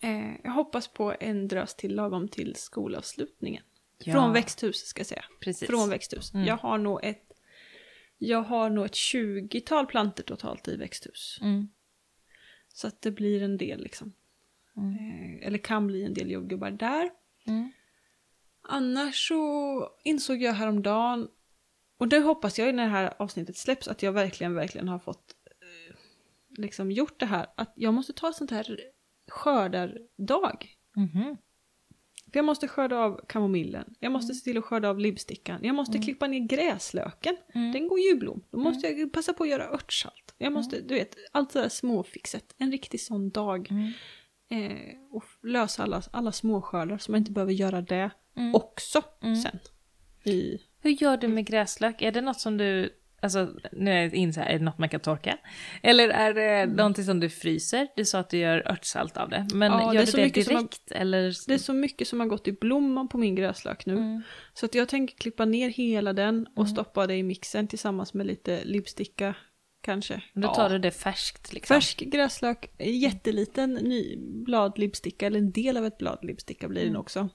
Speaker 1: Eh, jag hoppas på en drös till lagom till skolavslutningen.
Speaker 2: Ja.
Speaker 1: Från växthuset ska jag säga.
Speaker 2: Precis.
Speaker 1: Från växthus.
Speaker 2: Mm.
Speaker 1: Jag har nog ett jag har nog ett 20-tal planter totalt i växthus.
Speaker 2: Mm.
Speaker 1: Så att det blir en del liksom.
Speaker 2: Mm.
Speaker 1: Eh, eller kan bli en del jordgubbar där.
Speaker 2: Mm.
Speaker 1: Annars så insåg jag häromdagen, och det hoppas jag ju när det här avsnittet släpps, att jag verkligen, verkligen har fått eh, liksom gjort det här. Att jag måste ta ett sånt här skördardag.
Speaker 2: Mhm.
Speaker 1: För jag måste skörda av kamomillen, jag
Speaker 2: Mm.
Speaker 1: måste se till att skörda av libbstickan, jag måste klippa ner gräslöken.
Speaker 2: Mm.
Speaker 1: Den går ju i blom. Då måste jag passa på att göra örtsalt. Jag måste, du vet, allt det där småfixet. En riktig sån dag.
Speaker 2: Mm.
Speaker 1: Eh, och lösa alla, alla småskördar så man inte behöver göra det
Speaker 2: Mm.
Speaker 1: också
Speaker 2: Mm.
Speaker 1: sen. I,
Speaker 2: Hur gör du med gräslök? Är det något som du, alltså nu är jag in så här, är det något man kan torka? Eller är det någonting som du fryser? Du sa att du gör örtsalt av det, men
Speaker 1: Ja, det
Speaker 2: gör
Speaker 1: är
Speaker 2: du
Speaker 1: så
Speaker 2: det
Speaker 1: mycket som man-
Speaker 2: direkt? Eller?
Speaker 1: det är så mycket som har gått i blomman på min gräslök nu.
Speaker 2: Mm.
Speaker 1: Så att jag tänker klippa ner hela den och stoppa det i mixen tillsammans med lite lippsticka kanske.
Speaker 2: Då
Speaker 1: Ja.
Speaker 2: tar du det färskt liksom?
Speaker 1: Färsk gräslök, jätteliten ny bladlipsticka, eller en del av ett bladlipsticka blir den också.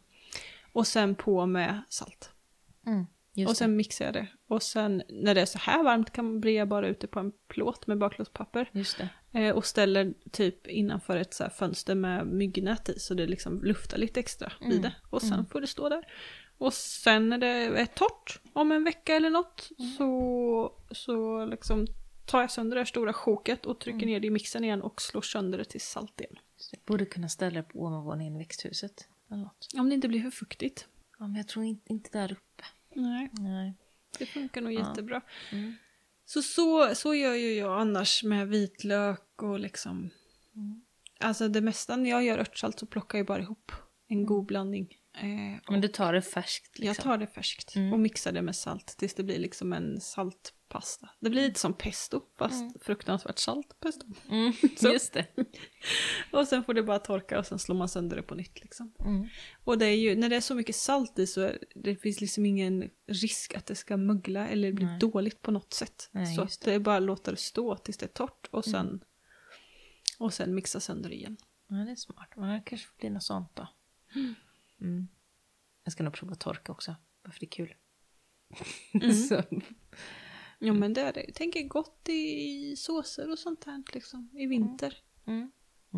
Speaker 1: Och sen på med salt.
Speaker 2: Mm. Just
Speaker 1: och sen mixar jag det. Och sen när det är så här varmt kan man brea bara ute på en plåt med bakplåtspapper.
Speaker 2: det. Just det.
Speaker 1: Eh, och ställer typ innanför ett så här fönster med myggnät i så det liksom luftar lite extra vid det. Och sen får det stå där. Och sen när det är torrt, om en vecka eller något, så, så liksom tar jag sönder det här stora sjoket och trycker ner det i mixen igen och slår sönder det till salt igen.
Speaker 2: Just det. Borde kunna ställa det på ovanvåningen i växthuset. Eller något.
Speaker 1: Om det inte blir för fuktigt.
Speaker 2: Ja, men jag tror inte, inte där uppe.
Speaker 1: Nej.
Speaker 2: Nej.
Speaker 1: Det funkar nog jättebra.
Speaker 2: Mm.
Speaker 1: Så, så så gör ju jag annars med vitlök och liksom...
Speaker 2: Mm.
Speaker 1: Alltså det mesta när jag gör örtsalt så plockar jag bara ihop en
Speaker 2: Mm.
Speaker 1: god blandning. Eh, och
Speaker 2: Men du tar det färskt liksom?
Speaker 1: Jag tar det färskt
Speaker 2: Mm.
Speaker 1: och mixar det med salt tills det blir liksom en saltpasta. Det blir lite som pesto, fast fruktansvärt salt pesto.
Speaker 2: Mm.
Speaker 1: Så.
Speaker 2: Just det.
Speaker 1: Och sen får det bara torka och sen slår man sönder det på nytt liksom.
Speaker 2: Mm.
Speaker 1: Och det är ju, när det är så mycket salt i så är, det finns liksom ingen risk att det ska mögla eller bli
Speaker 2: Nej.
Speaker 1: dåligt på något sätt.
Speaker 2: Nej,
Speaker 1: så
Speaker 2: just Mm.
Speaker 1: att det är bara att låta det stå tills det är torrt och sen, och sen mixa sönder igen.
Speaker 2: Ja, det är smart. Men det kanske får bli något sånt då. Mm. Jag ska nog prova torka också, bara för det är kul. Så.
Speaker 1: Ja
Speaker 2: Mm.
Speaker 1: men det är det. Tänker gott i såser och sånt här liksom i vinter.
Speaker 2: Mm.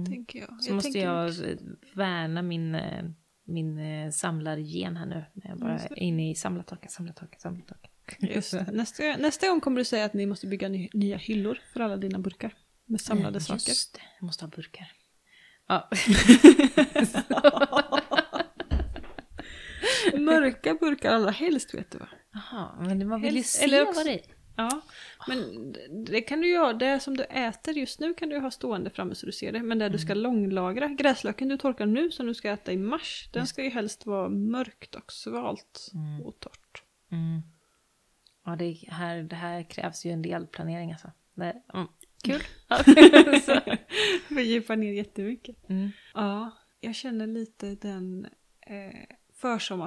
Speaker 1: Tänker jag.
Speaker 2: Så
Speaker 1: jag
Speaker 2: måste
Speaker 1: tänker
Speaker 2: jag
Speaker 1: också-
Speaker 2: eh, värna min, eh, min eh, samlargen här nu. När jag bara
Speaker 1: Just det.
Speaker 2: är inne i samlartorka, samlartorka, samlartorka.
Speaker 1: Just, det. nästa, nästa gång kommer du säga att ni måste bygga ny, nya hyllor för alla dina burkar. Med samlade
Speaker 2: Eh,
Speaker 1: saker.
Speaker 2: Just det, jag måste ha burkar. Ja.
Speaker 1: Mörka burkar allra helst vet du va?
Speaker 2: Jaha, men man vill ju
Speaker 1: Helst-
Speaker 2: se
Speaker 1: eller
Speaker 2: vad
Speaker 1: också-
Speaker 2: det är.
Speaker 1: Ja, men det kan du ju ha. Det som du äter just nu kan du ju ha stående framme så du ser det. Men det du ska långlagra, gräslöken du torkar nu som du ska äta i mars, den ska ju helst vara mörkt och svalt och torrt.
Speaker 2: Mm. Ja, det, är- här, det här krävs ju en del planering alltså. Det, mm, kul. Så.
Speaker 1: Fördjupa ner jättemycket.
Speaker 2: Mm.
Speaker 1: Ja, jag känner lite den eh,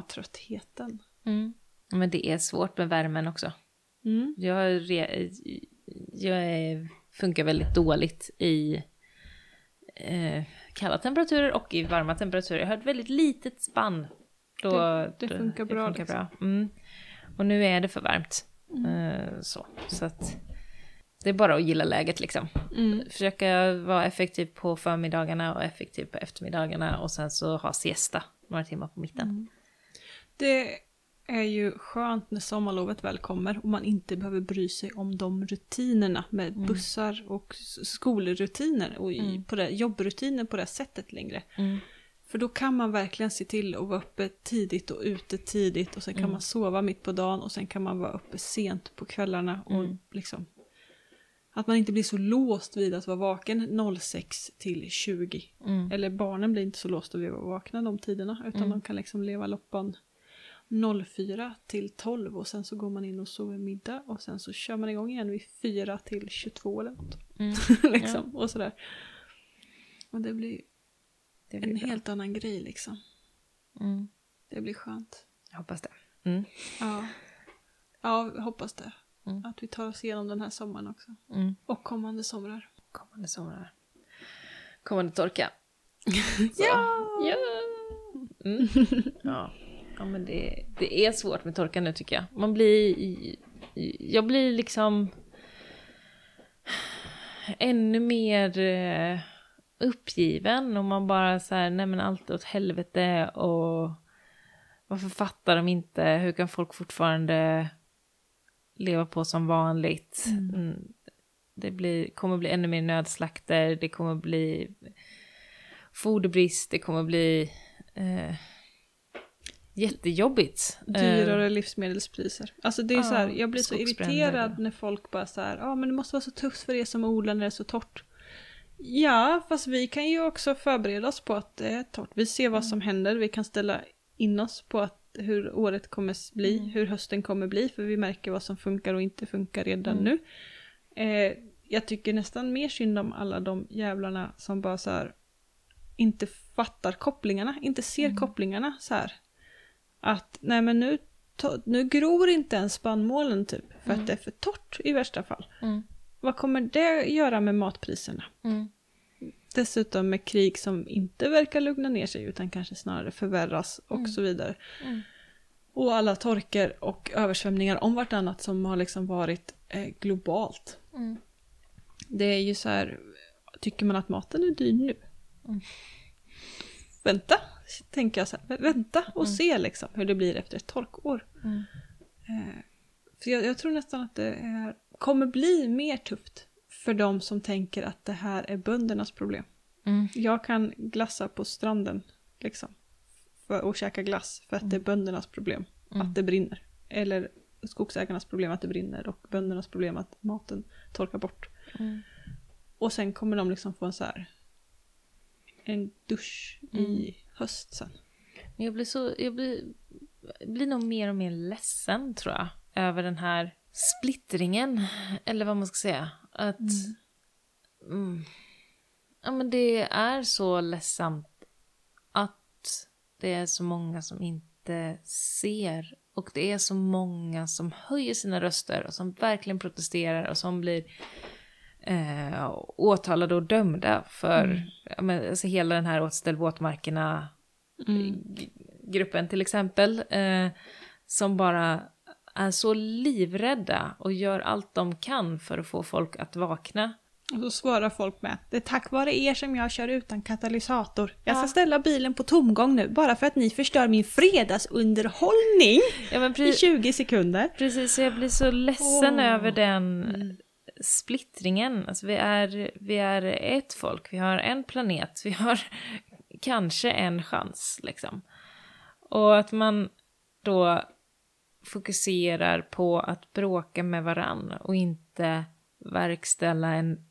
Speaker 1: försommartröttheten.
Speaker 2: Mm. Men det är svårt med värmen också.
Speaker 1: Mm.
Speaker 2: Jag, är re, jag är, funkar väldigt dåligt i eh, kalla temperaturer och i varma temperaturer. Jag har ett väldigt litet spann. Då,
Speaker 1: Det- det
Speaker 2: då-
Speaker 1: funkar bra,
Speaker 2: funkar
Speaker 1: liksom. Mm.
Speaker 2: bra. Mm. Och nu är det för varmt. Eh, så så att, det är bara att gilla läget liksom.
Speaker 1: Mm.
Speaker 2: Försöka vara effektiv på förmiddagarna och effektiv på eftermiddagarna och sen så ha siesta några timmar på mitten.
Speaker 1: Mm. Det är ju skönt när sommarlovet väl kommer och man inte behöver bry sig om de rutinerna med bussar och s- skolrutiner och i, på det, jobbrutiner på det sättet längre.
Speaker 2: Mm.
Speaker 1: För då kan man verkligen se till att vara uppe tidigt och ute tidigt och sen
Speaker 2: Mm.
Speaker 1: kan man sova mitt på dagen och sen kan man vara uppe sent på kvällarna och
Speaker 2: Mm.
Speaker 1: liksom att man inte blir så låst vid att vara vaken 06 till 20.
Speaker 2: Mm.
Speaker 1: Eller barnen blir inte så låsta vid att vara vakna de tiderna utan de kan liksom leva loppan 04 till 12 och sen så går man in och sover middag och sen så kör man igång igen vid 4 till 22 eller något.
Speaker 2: Mm.
Speaker 1: liksom, och sådär. Och det blir
Speaker 2: Det
Speaker 1: en
Speaker 2: blir bra.
Speaker 1: helt annan grej liksom.
Speaker 2: Mm.
Speaker 1: Det blir skönt.
Speaker 2: Jag hoppas det. Mm.
Speaker 1: Ja. ja, vi hoppas det.
Speaker 2: Mm.
Speaker 1: Att vi tar oss igenom den här sommaren också.
Speaker 2: Mm.
Speaker 1: Och kommande somrar.
Speaker 2: Kommande somrar. Kommande torka. Så.
Speaker 1: Ja!
Speaker 2: Ja. Mm. ja. Ja, men det, det är svårt med torka nu tycker jag. Man blir... i- i- Jag blir liksom... Ännu mer eh, uppgiven och man bara så här, nej men allt åt helvete och varför fattar de inte, hur kan folk fortfarande leva på som vanligt? Mm. Det blir, kommer bli ännu mer nödslakter, det kommer bli foderbrist, det kommer bli eh, jättejobbigt. Eh,
Speaker 1: Dyrare livsmedelspriser. Alltså det är
Speaker 2: ja,
Speaker 1: så här, jag blir så
Speaker 2: skogsbränder.
Speaker 1: irriterad när folk bara så här, ja men det måste vara så tufft för er som odlar när det är så torrt. Ja, fast vi kan ju också förbereda oss på att det är torrt. Vi ser
Speaker 2: Mm.
Speaker 1: vad som händer, vi kan ställa in oss på att hur året kommer s- bli,
Speaker 2: Mm.
Speaker 1: hur hösten kommer bli, för vi märker vad som funkar och inte funkar redan
Speaker 2: Mm.
Speaker 1: nu. Eh, jag tycker nästan mer synd om alla de jävlarna som bara så här inte fattar kopplingarna, inte ser
Speaker 2: Mm.
Speaker 1: kopplingarna så här. Att nej men nu, ta- nu gror inte ens spannmålen typ, för att det är för torrt i värsta fall.
Speaker 2: mm,
Speaker 1: Vad kommer det göra med matpriserna?
Speaker 2: mm.
Speaker 1: Dessutom med krig som inte verkar lugna ner sig utan kanske snarare förvärras och så vidare.
Speaker 2: Mm.
Speaker 1: Och alla torker och översvämningar om vartannat som har liksom varit eh, globalt.
Speaker 2: Mm.
Speaker 1: Det är ju så här, tycker man att maten är dyr nu?
Speaker 2: Mm.
Speaker 1: Vänta, tänker jag så här. Vä- Vänta och se liksom hur det blir efter ett torkår.
Speaker 2: Mm.
Speaker 1: Eh, för jag, jag tror nästan att det är, kommer bli mer tufft för de som tänker att det här är böndernas problem.
Speaker 2: Mm.
Speaker 1: Jag kan glassa på stranden liksom, för, och käka glass för att det är böndernas problem
Speaker 2: Mm.
Speaker 1: att det brinner. Eller skogsägarnas problem att det brinner och böndernas problem att maten torkar bort.
Speaker 2: Mm.
Speaker 1: Och sen kommer de liksom få en så här en dusch
Speaker 2: Mm.
Speaker 1: i höst sen.
Speaker 2: Men jag blir så, jag blir, blir nog mer och mer ledsen tror jag. Över den här splittringen, eller vad man ska säga. Att, mm. ja men det är så ledsamt att det är så många som inte ser. Och det är så många som höjer sina röster och som verkligen protesterar och som blir eh, åtalade och dömda för ja, men, alltså, hela den här återställ våtmarkerna g- gruppen till exempel, eh, som bara är så livrädda och gör allt de kan för att få folk att vakna.
Speaker 1: Och så svarar folk med det är tack vare er som jag kör utan katalysator. Jag ska
Speaker 2: Ja.
Speaker 1: ställa bilen på tomgång nu bara för att ni förstör min fredagsunderhållning
Speaker 2: Ja, men pre-
Speaker 1: i 20 sekunder.
Speaker 2: Precis, så jag blir så ledsen
Speaker 1: Åh. Mm.
Speaker 2: över den splittringen. Alltså vi, är, vi är ett folk, vi har en planet, vi har kanske en chans. Liksom. Och att man då fokuserar på att bråka med varann och inte verkställa en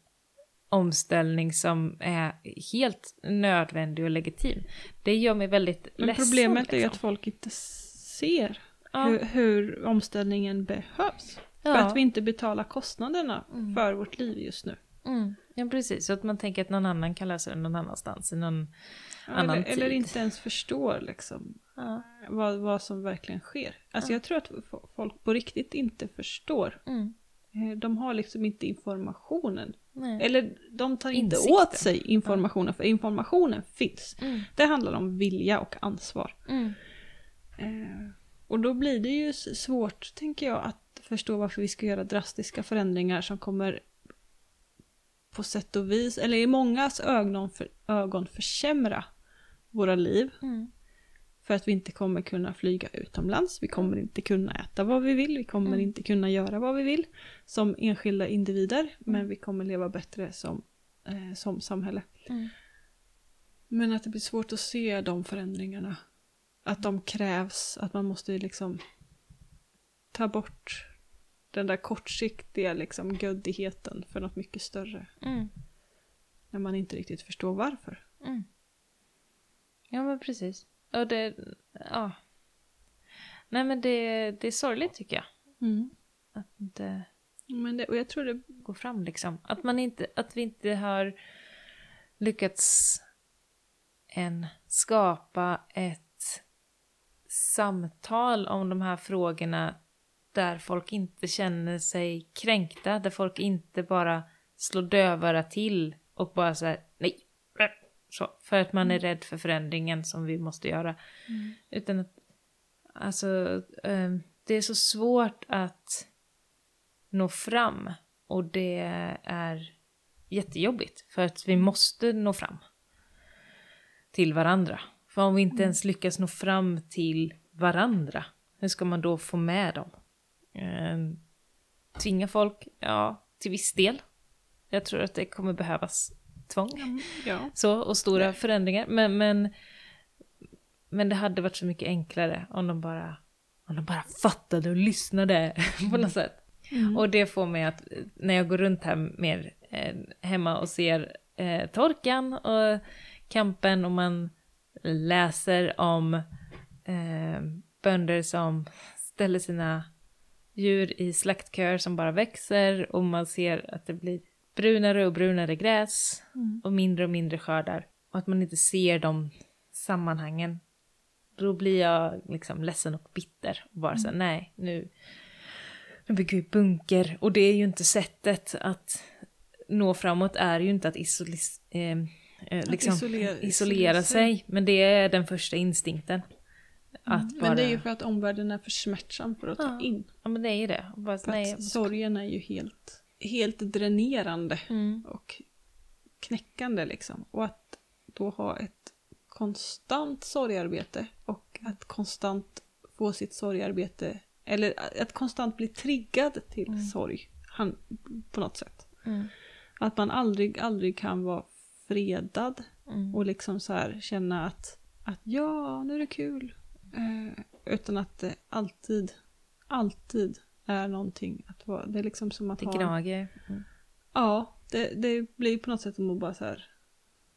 Speaker 2: omställning som är helt nödvändig och legitim. Det gör mig väldigt
Speaker 1: Men
Speaker 2: ledsen.
Speaker 1: problemet är ju
Speaker 2: liksom.
Speaker 1: att folk inte ser
Speaker 2: Ja.
Speaker 1: hur, hur omställningen behövs. För
Speaker 2: Ja.
Speaker 1: att vi inte betalar kostnaderna för vårt liv just nu.
Speaker 2: Mm, ja, precis. Så att man tänker att någon annan kan lösa det någon annanstans i någon annan
Speaker 1: Eller,
Speaker 2: tid.
Speaker 1: eller inte ens förstår liksom
Speaker 2: Ja.
Speaker 1: vad, vad som verkligen sker. Alltså jag tror att fo- folk på riktigt inte förstår.
Speaker 2: Mm,
Speaker 1: Eh, De har liksom inte informationen.
Speaker 2: nej.
Speaker 1: Eller de tar inte
Speaker 2: Insikten.
Speaker 1: åt sig informationen, för informationen finns.
Speaker 2: Mm,
Speaker 1: Det handlar om vilja och ansvar.
Speaker 2: mm,
Speaker 1: Eh, Och då blir det ju s- svårt, tänker jag, att förstå varför vi ska göra drastiska förändringar som kommer på sätt och vis, eller i mångas ögon, för, ögon försämra våra liv.
Speaker 2: mm,
Speaker 1: För att vi inte kommer kunna flyga utomlands, vi kommer inte kunna äta vad vi vill, vi kommer
Speaker 2: Mm.
Speaker 1: inte kunna göra vad vi vill som enskilda individer, men vi kommer leva bättre som, eh, som samhälle.
Speaker 2: mm,
Speaker 1: Men att det blir svårt att se de förändringarna. Att de krävs, att man måste liksom ta bort den där kortsiktiga liksom göddigheten för något mycket större.
Speaker 2: mm,
Speaker 1: När man inte riktigt förstår varför.
Speaker 2: mm. Ja, men precis. Och det, ja. Nej, men det, det är sorgligt tycker jag. Att inte
Speaker 1: Mm. Men det, och jag tror det...
Speaker 2: gå fram liksom. Att, man inte, att vi inte har lyckats än skapa ett samtal om de här frågorna där folk inte känner sig kränkta, där folk inte bara slår dövörat till och bara så här, nej, äh", så, för att man är rädd för förändringen som vi måste göra. Utan att, alltså, eh, det är så svårt att nå fram och det är jättejobbigt för att vi måste nå fram till varandra. För om vi inte ens lyckas nå fram till varandra, hur ska man då få med dem? Eh, tvinga folk? Ja, till viss del. Jag tror att det kommer behövas tvång.
Speaker 1: Mm. Ja.
Speaker 2: Så, och stora förändringar. Men, men, men det hade varit så mycket enklare om de bara, om de bara fattade och lyssnade på något sätt. Och det får mig att, eh, när jag går runt här mer eh, hemma och ser eh, torkan och kampen och man läser om eh, bönder som ställer sina djur i slaktköer som bara växer och man ser att det blir brunare och brunare gräs och mindre och mindre skördar och att man inte ser de sammanhangen. Då blir jag liksom ledsen och bitter och
Speaker 1: Mm.
Speaker 2: bara så här, nej, nu, nu bygger vi bunker och det är ju inte sättet att nå framåt är ju inte att, isolis, eh, eh, liksom,
Speaker 1: isolera-
Speaker 2: isolera,
Speaker 1: isolera sig. Mm.
Speaker 2: sig, men det är den första instinkten. Att bara,
Speaker 1: Men det är ju för att omvärlden är för smärtsam för att ta
Speaker 2: Ja.
Speaker 1: in.
Speaker 2: ja, men det är ju det. Och Bara,
Speaker 1: För
Speaker 2: nej,
Speaker 1: att sorgen är ju helt, helt dränerande
Speaker 2: mm,
Speaker 1: och knäckande liksom. Och att då ha ett konstant sorgarbete och att konstant få sitt sorgarbete, eller att konstant bli triggad till sorg han, på något sätt.
Speaker 2: mm,
Speaker 1: Att man aldrig, aldrig kan vara fredad
Speaker 2: mm,
Speaker 1: och liksom så här känna att, att ja, nu är det kul. Eh, utan att det alltid, alltid är någonting att vara. Det är liksom som att
Speaker 2: det
Speaker 1: ha...
Speaker 2: gnager. Mm.
Speaker 1: Ja, det, det blir på något sätt som att bara så här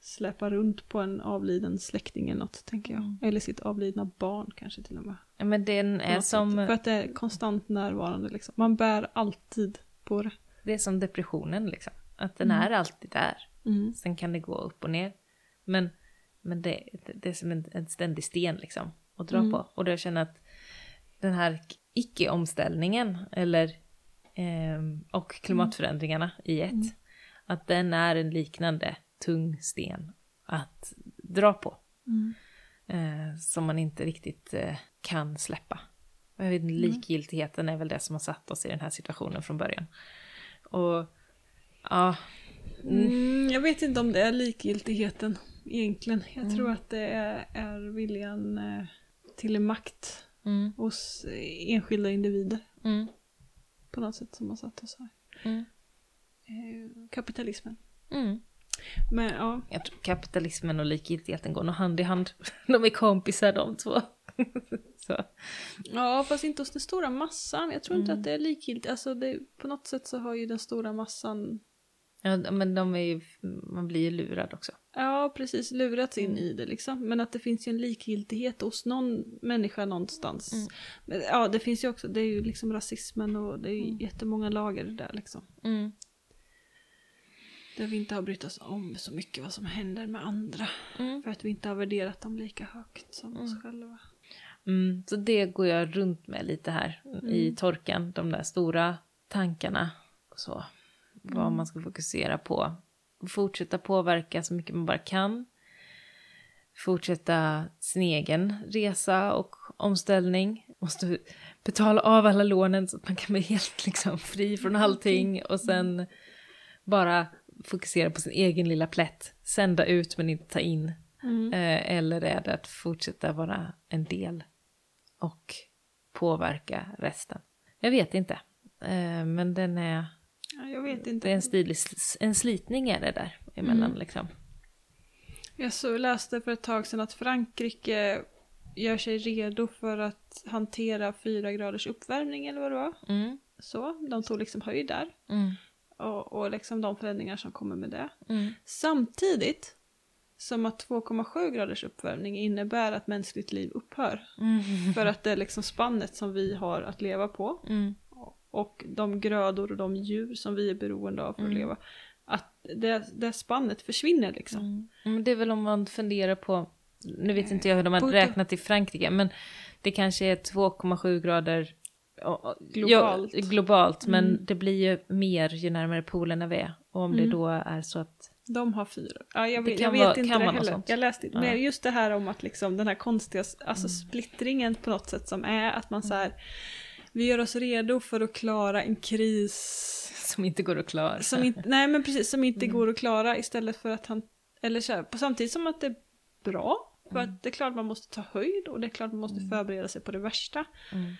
Speaker 1: släpa runt på en avliden släkting eller något, tänker jag.
Speaker 2: Mm.
Speaker 1: Eller sitt avlidna barn kanske till och med. på
Speaker 2: Ja, men den är
Speaker 1: något
Speaker 2: som...
Speaker 1: sätt. För att det är konstant närvarande liksom. Man bär alltid på det.
Speaker 2: Det är som depressionen liksom. Att
Speaker 1: Mm.
Speaker 2: den är alltid där. Sen kan det gå upp och ner. Men, men det, det är som en, en ständig sten liksom. Att dra på. Och då jag känner att den här icke-omställningen eller, ehm, och klimatförändringarna i ett. Att den är en liknande tung sten att dra på. Mm. Eh, som man inte riktigt eh, kan släppa. Och Jag vet, inte, likgiltigheten är väl det som har satt oss i den här situationen från början. Och ja,
Speaker 1: Mm, jag vet inte om det är likgiltigheten egentligen. Jag
Speaker 2: Mm.
Speaker 1: tror att det är, är viljan eh, till makt
Speaker 2: mm,
Speaker 1: hos eh, enskilda individer
Speaker 2: mm,
Speaker 1: på något sätt som har satt oss här.
Speaker 2: mm,
Speaker 1: Eh, kapitalismen.
Speaker 2: mm.
Speaker 1: Men ja,
Speaker 2: Jag tror kapitalismen och likgiltigheten går nog hand i hand. De är kompisar de två. Så.
Speaker 1: Ja, fast inte hos den stora massan. Jag tror inte
Speaker 2: Mm.
Speaker 1: att det är likgiltigt. Alltså det, på något sätt så har ju den stora massan,
Speaker 2: Ja, men de är ju, man blir ju lurad också.
Speaker 1: ja precis, lurats in
Speaker 2: Mm.
Speaker 1: i det liksom. Men att det finns ju en likgiltighet hos någon människa någonstans.
Speaker 2: Mm.
Speaker 1: Men, ja, det finns ju också, det är ju liksom rasismen och det är ju jättemånga lager där liksom.
Speaker 2: Mm.
Speaker 1: Där vi inte har brytt oss om så mycket vad som händer med andra.
Speaker 2: Mm.
Speaker 1: För att vi inte har värderat dem lika högt som oss själva.
Speaker 2: Mm, så det går jag runt med lite här i torkan, de där stora tankarna och så. Vad man ska fokusera på. Fortsätta påverka så mycket man bara kan. Fortsätta sin egen resa och omställning. Måste betala av alla lånen så att man kan bli helt liksom fri från allting och sen bara fokusera på sin egen lilla plätt. Sända ut men inte ta in. Eh, Eller är det att fortsätta vara en del och påverka resten? Jag vet inte. Eh, Men den är,
Speaker 1: Ja, jag vet inte.
Speaker 2: det är en, stilig, sl- en slitning är det där emellan liksom.
Speaker 1: Jag så läste för ett tag sedan att Frankrike gör sig redo för att hantera fyra graders uppvärmning eller vad det var.
Speaker 2: Mm,
Speaker 1: Så, de tog liksom höjd där
Speaker 2: mm,
Speaker 1: och, och liksom de förändringar som kommer med det.
Speaker 2: mm,
Speaker 1: Samtidigt som att 2,7 graders uppvärmning innebär att mänskligt liv upphör.
Speaker 2: mm,
Speaker 1: För att det är liksom spannet som vi har att leva på
Speaker 2: mm,
Speaker 1: och de grödor och de djur som vi är beroende av för
Speaker 2: Mm.
Speaker 1: att leva. Att det, det spannet försvinner liksom.
Speaker 2: mm. Men det är väl om man funderar på, nu vet inte jag hur de har
Speaker 1: På-
Speaker 2: räknat i Frankrike, men Det kanske är 2,7 grader ja,
Speaker 1: Globalt.
Speaker 2: Ja, globalt men
Speaker 1: Mm.
Speaker 2: det blir ju mer ju närmare polerna vi är. Och om det
Speaker 1: Mm.
Speaker 2: då är så att...
Speaker 1: De har fyra. Ja, jag
Speaker 2: Det
Speaker 1: vet,
Speaker 2: kan
Speaker 1: jag vet
Speaker 2: vara-
Speaker 1: inte
Speaker 2: kan
Speaker 1: det
Speaker 2: vara något
Speaker 1: heller.
Speaker 2: sånt.
Speaker 1: Jag läste inte.
Speaker 2: Ja. Mm.
Speaker 1: Men just det här om att liksom den här konstiga alltså splittringen på något sätt som är att man så här vi gör oss redo för att klara en kris
Speaker 2: Som inte går att klara.
Speaker 1: som inte, nej men precis, som inte
Speaker 2: Mm.
Speaker 1: går att klara istället för att han, eller så här, på samtidigt som att det är bra, för
Speaker 2: Mm.
Speaker 1: att det är klart man måste ta höjd och det är klart man måste förbereda sig på det värsta.
Speaker 2: Mm.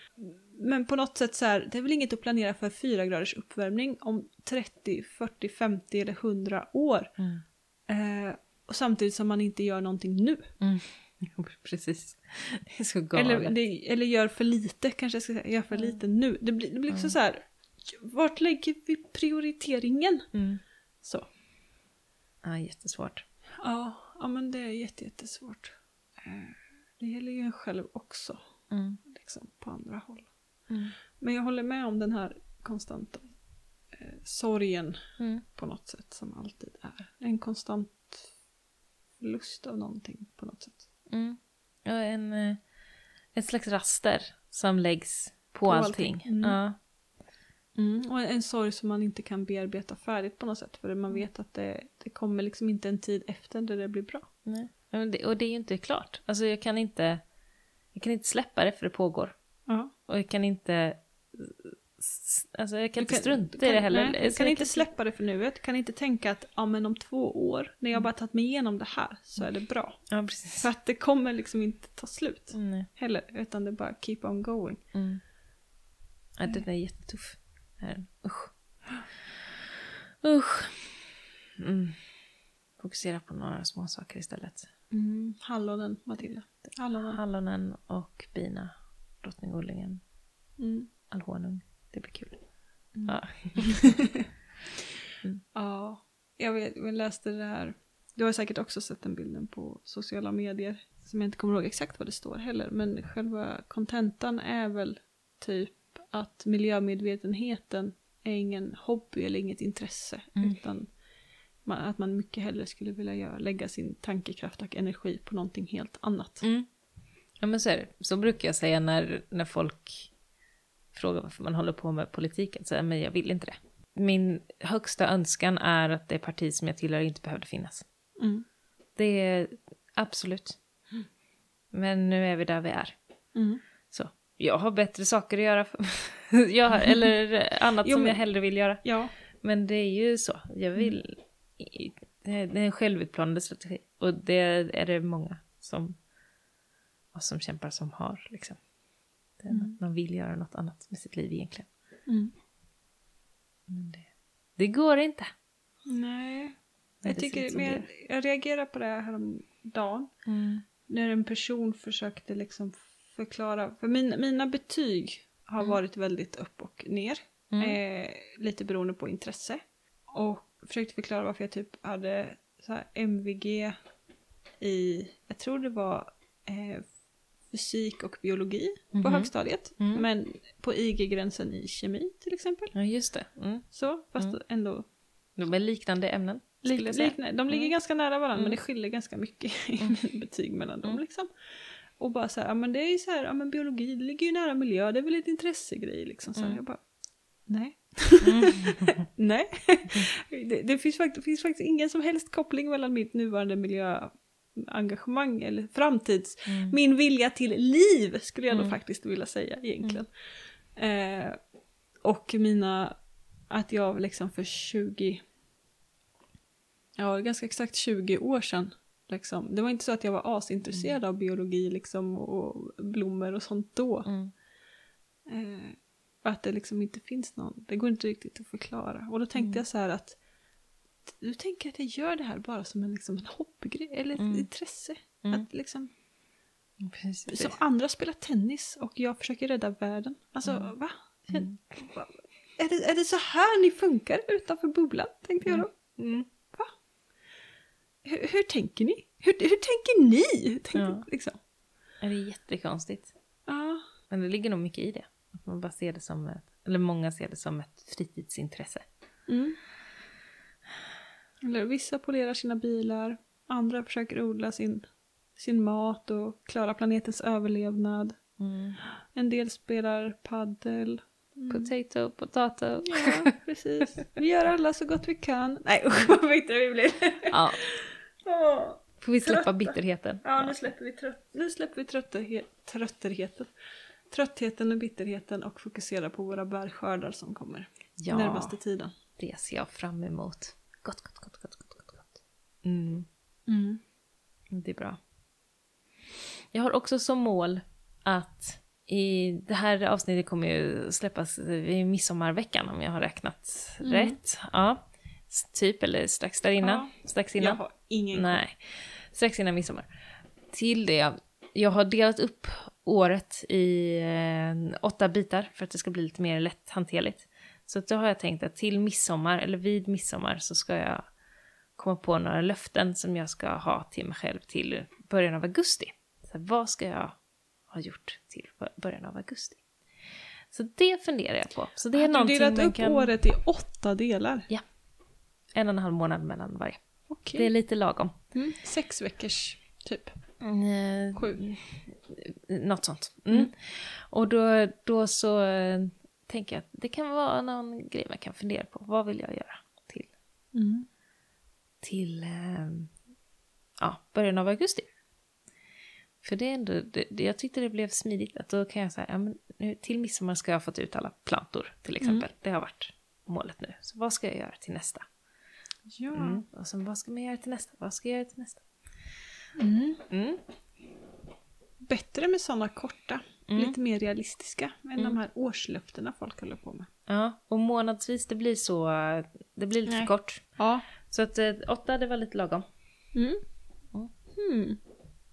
Speaker 1: Men på något sätt så här, det är väl inget att planera för 4 graders uppvärmning om 30, 40, 50 eller 100 år.
Speaker 2: Mm.
Speaker 1: Eh, och samtidigt som man inte gör någonting nu.
Speaker 2: Mm. Jo, Precis. Det är så galet. Mm.
Speaker 1: Eller, det, eller gör för lite kanske jag ska säga, gör för lite nu. Det blir, det blir liksom så här, vart lägger vi prioriteringen?
Speaker 2: Mm.
Speaker 1: Så.
Speaker 2: Ja, jättesvårt.
Speaker 1: Ja, ja men det är jätte, jättesvårt. Eh, Det gäller ju en själv också,
Speaker 2: Mm.
Speaker 1: liksom på andra håll.
Speaker 2: Mm.
Speaker 1: Men jag håller med om den här konstanta eh, sorgen
Speaker 2: Mm.
Speaker 1: på något sätt som alltid är. En konstant lust av någonting på något sätt.
Speaker 2: Mm. Ja, en, eh, ett slags raster som läggs på,
Speaker 1: På
Speaker 2: allting.
Speaker 1: allting. Mm.
Speaker 2: Ja.
Speaker 1: Mm, och en, en sorg som man inte kan bearbeta färdigt på något sätt. För
Speaker 2: Mm.
Speaker 1: man vet att det, det kommer liksom inte en tid efter där det blir bra.
Speaker 2: Nej. Ja, men det- Och det är ju inte klart. Alltså jag kan inte, jag kan inte släppa det för det pågår.
Speaker 1: Ja.
Speaker 2: Och jag kan inte, s- alltså jag kan
Speaker 1: Du
Speaker 2: inte strunta i det heller.
Speaker 1: Nej, du
Speaker 2: Så
Speaker 1: kan
Speaker 2: jag
Speaker 1: inte släppa det för nuet. Kan inte tänka att ja, men om två år, när jag bara tagit mig igenom det här, så är det bra.
Speaker 2: Ja, precis.
Speaker 1: För att det kommer liksom inte ta slut
Speaker 2: Mm, nej.
Speaker 1: heller. Utan det är bara keep on going.
Speaker 2: Mm. Ja, den är jättetuff. Är den. Usch. Usch. Mm. Fokusera på några små saker istället. Mm.
Speaker 1: Hallonen, Matilda. Hallonen.
Speaker 2: Hallonen och bina. Drottningodlingen.
Speaker 1: Mm.
Speaker 2: Alhonung. Det blir kul.
Speaker 1: Mm.
Speaker 2: Ja.
Speaker 1: Ja, jag, vet, jag läste det här. Du har säkert också sett den bilden på sociala medier. Som jag inte kommer ihåg exakt vad det står heller. Men själva kontentan är väl typ att miljömedvetenheten är ingen hobby eller inget intresse.
Speaker 2: Mm.
Speaker 1: Utan man, att man mycket hellre skulle vilja göra, lägga sin tankekraft och energi på någonting helt annat.
Speaker 2: Mm. Ja men så är det. Så brukar jag säga när, när folk frågar varför man håller på med politiken. Så här, men jag vill inte det. Min högsta önskan är att det parti som jag tillhör inte behövde finnas.
Speaker 1: Mm.
Speaker 2: Det är absolut. Men nu är vi där vi är.
Speaker 1: Mm.
Speaker 2: Så. Jag har bättre saker att göra. För, jag har, eller annat
Speaker 1: Jo,
Speaker 2: som
Speaker 1: men-
Speaker 2: jag hellre vill göra.
Speaker 1: Ja,
Speaker 2: Men det är ju så. Jag vill... i- i- Det är en självutplanande strategi. Och det är det många som, och som kämpar som har. Liksom. Det är att man vill göra något annat med sitt liv egentligen.
Speaker 1: Mm.
Speaker 2: Men det, det går inte.
Speaker 1: nej.
Speaker 2: Men
Speaker 1: Jag,
Speaker 2: det ser ut
Speaker 1: tycker,
Speaker 2: som
Speaker 1: men
Speaker 2: det
Speaker 1: jag, jag reagerar på det här häromdagen. när en person försökte liksom förklara, för min, mina betyg har
Speaker 2: Mm.
Speaker 1: varit väldigt upp och ner, eh, lite beroende på intresse. Och försökte förklara varför jag typ hade så här MVG i, jag tror det var eh, fysik och biologi
Speaker 2: Mhm.
Speaker 1: på högstadiet,
Speaker 2: Mm.
Speaker 1: men på IG-gränsen i kemi till exempel.
Speaker 2: Ja, just det. Mm.
Speaker 1: Så, fast
Speaker 2: Mm.
Speaker 1: ändå
Speaker 2: De är liknande ämnen.
Speaker 1: Lik,
Speaker 2: skulle jag säga.
Speaker 1: likna- de ligger
Speaker 2: Mm.
Speaker 1: ganska nära varandra
Speaker 2: Mm.
Speaker 1: men det skiljer ganska mycket i mina betyg mellan dem.
Speaker 2: Mm.
Speaker 1: Liksom. Och bara så här, ja men det är ju så här, ja men biologi det ligger ju nära miljö, det är väl ett intressegrej liksom. Så här,
Speaker 2: Mm.
Speaker 1: jag bara, nej. nej. det, det finns, faktiskt, finns faktiskt ingen som helst koppling mellan mitt nuvarande miljöengagemang eller framtids,
Speaker 2: Mm.
Speaker 1: min vilja till liv skulle jag nog
Speaker 2: Mm.
Speaker 1: faktiskt vilja säga egentligen. Eh, och mina, att jag liksom för 20, ja ganska exakt 20 år sedan, liksom. det var inte så att jag var asintresserad av biologi liksom och blommor och sånt då.
Speaker 2: Mm.
Speaker 1: Eh, att det liksom inte finns någon, det går inte riktigt att förklara. Och då tänkte
Speaker 2: Mm.
Speaker 1: jag så här att, du tänker att jag gör det här bara som en, liksom, en hobbygrej eller ett
Speaker 2: Mm.
Speaker 1: intresse.
Speaker 2: Mm.
Speaker 1: Att liksom,
Speaker 2: Precis.
Speaker 1: som andra spelar tennis och jag försöker rädda världen. Alltså
Speaker 2: Mm.
Speaker 1: va?
Speaker 2: Mm.
Speaker 1: va? Är, det, är det så här ni funkar utanför bubblan? Tänkte jag då.
Speaker 2: Mm.
Speaker 1: Va? Hur, hur tänker ni? Hur, hur tänker ni? Tänkte,
Speaker 2: Ja.
Speaker 1: Liksom.
Speaker 2: Ja, Det är jättekonstigt.
Speaker 1: Ja.
Speaker 2: Men det ligger nog mycket i det. Att man bara ser det som ett, eller många ser det som ett fritidsintresse.
Speaker 1: Mm. Eller vissa polerar sina bilar, andra försöker odla sin, sin mat och klara planetens överlevnad.
Speaker 2: Mm.
Speaker 1: En del spelar paddel.
Speaker 2: Potato, potato.
Speaker 1: Ja, precis. Vi gör alla så gott vi kan. Nej usch vad bittra vi blir.
Speaker 2: Ja,
Speaker 1: Åh.
Speaker 2: får vi släppa
Speaker 1: Trötta.
Speaker 2: bitterheten?
Speaker 1: Ja, nu släpper vi, trött, nu släpper vi trötterhe- trötterheten. Tröttheten och bitterheten och fokuserar på våra bärskördar som kommer
Speaker 2: Ja.
Speaker 1: närmaste tiden.
Speaker 2: Det ser jag fram emot. Gott, gott, gott, gott, gott, gott. gott. Mm, det är bra. Jag har också som mål att i det här avsnittet kommer ju släppas vid midsommarveckan om jag har räknat
Speaker 1: Mm.
Speaker 2: rätt. Ja, S- typ eller strax där innan. Strax innan.
Speaker 1: Jag har ingen
Speaker 2: Nej, strax innan midsommar. Till det, jag har delat upp året i eh, åtta bitar för att det ska bli lite mer lätthanterligt. Så att då har jag tänkt att till midsommar, eller vid midsommar, så ska jag komma på några löften som jag ska ha till mig själv till början av augusti. Så här, vad ska jag ha gjort till början av augusti? Så det funderar jag på. Så det är
Speaker 1: Har du
Speaker 2: någonting
Speaker 1: delat
Speaker 2: man
Speaker 1: upp
Speaker 2: kan...
Speaker 1: året i åtta delar?
Speaker 2: Ja. En och en halv månad mellan varje.
Speaker 1: Okej.
Speaker 2: Det är lite lagom.
Speaker 1: Mm. Sex veckors typ.
Speaker 2: Mm,
Speaker 1: Sju.
Speaker 2: något sånt. Mm. Och då, då så eh, tänker jag att det kan vara någon grej man kan fundera på. Vad vill jag göra till,
Speaker 1: Mm.
Speaker 2: till eh, ja, början av augusti? För det är ändå, det, det, jag tyckte det blev smidigt att då kan jag säga, ja, men nu till midsommar ska jag ha fått ut alla plantor till exempel. Det har varit målet nu. Så vad ska jag göra till nästa?
Speaker 1: Ja.
Speaker 2: Mm. Och sen vad ska man göra till nästa? Vad ska jag göra till nästa?
Speaker 1: Mm.
Speaker 2: Mm.
Speaker 1: Bättre med sådana korta,
Speaker 2: Mm.
Speaker 1: lite mer realistiska än de här årslöftena folk håller på med.
Speaker 2: Ja, och månadsvis det blir så, eh, det blir lite
Speaker 1: Nej.
Speaker 2: för kort.
Speaker 1: Ja.
Speaker 2: Så att eh, åtta, det var lite lagom.
Speaker 1: Mm.
Speaker 2: Mm.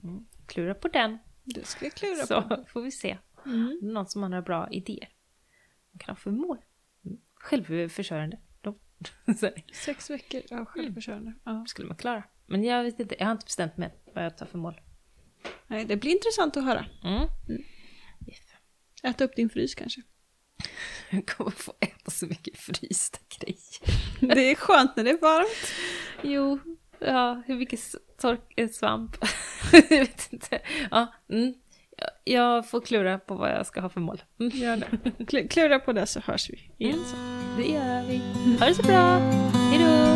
Speaker 1: Mm.
Speaker 2: Klura på den,
Speaker 1: Det ska jag klura på.
Speaker 2: så får vi se.
Speaker 1: Mm.
Speaker 2: Om det är Någon som har några bra idéer. Man kan ha för mål. Mm. Självförsörjande. De så här,
Speaker 1: Sex veckor
Speaker 2: Mm.
Speaker 1: av självförsörjande. Ja.
Speaker 2: skulle man klara. Men jag vet inte, jag har inte bestämt mig vad jag tar för mål.
Speaker 1: Nej, det blir intressant att höra.
Speaker 2: Mm. Yes.
Speaker 1: Äta upp din frys kanske.
Speaker 2: Jag kommer få äta så mycket frysta grejer.
Speaker 1: Det är skönt när det är varmt.
Speaker 2: Jo, ja, hur mycket s- tork, eh, svamp. jag vet inte. Ja, mm. Jag- Jag får klura på vad jag ska ha för mål. Mm.
Speaker 1: Gör det. Kl- Klura på det så hörs vi igen.
Speaker 2: Det gör vi. Ha det så bra. Hej då!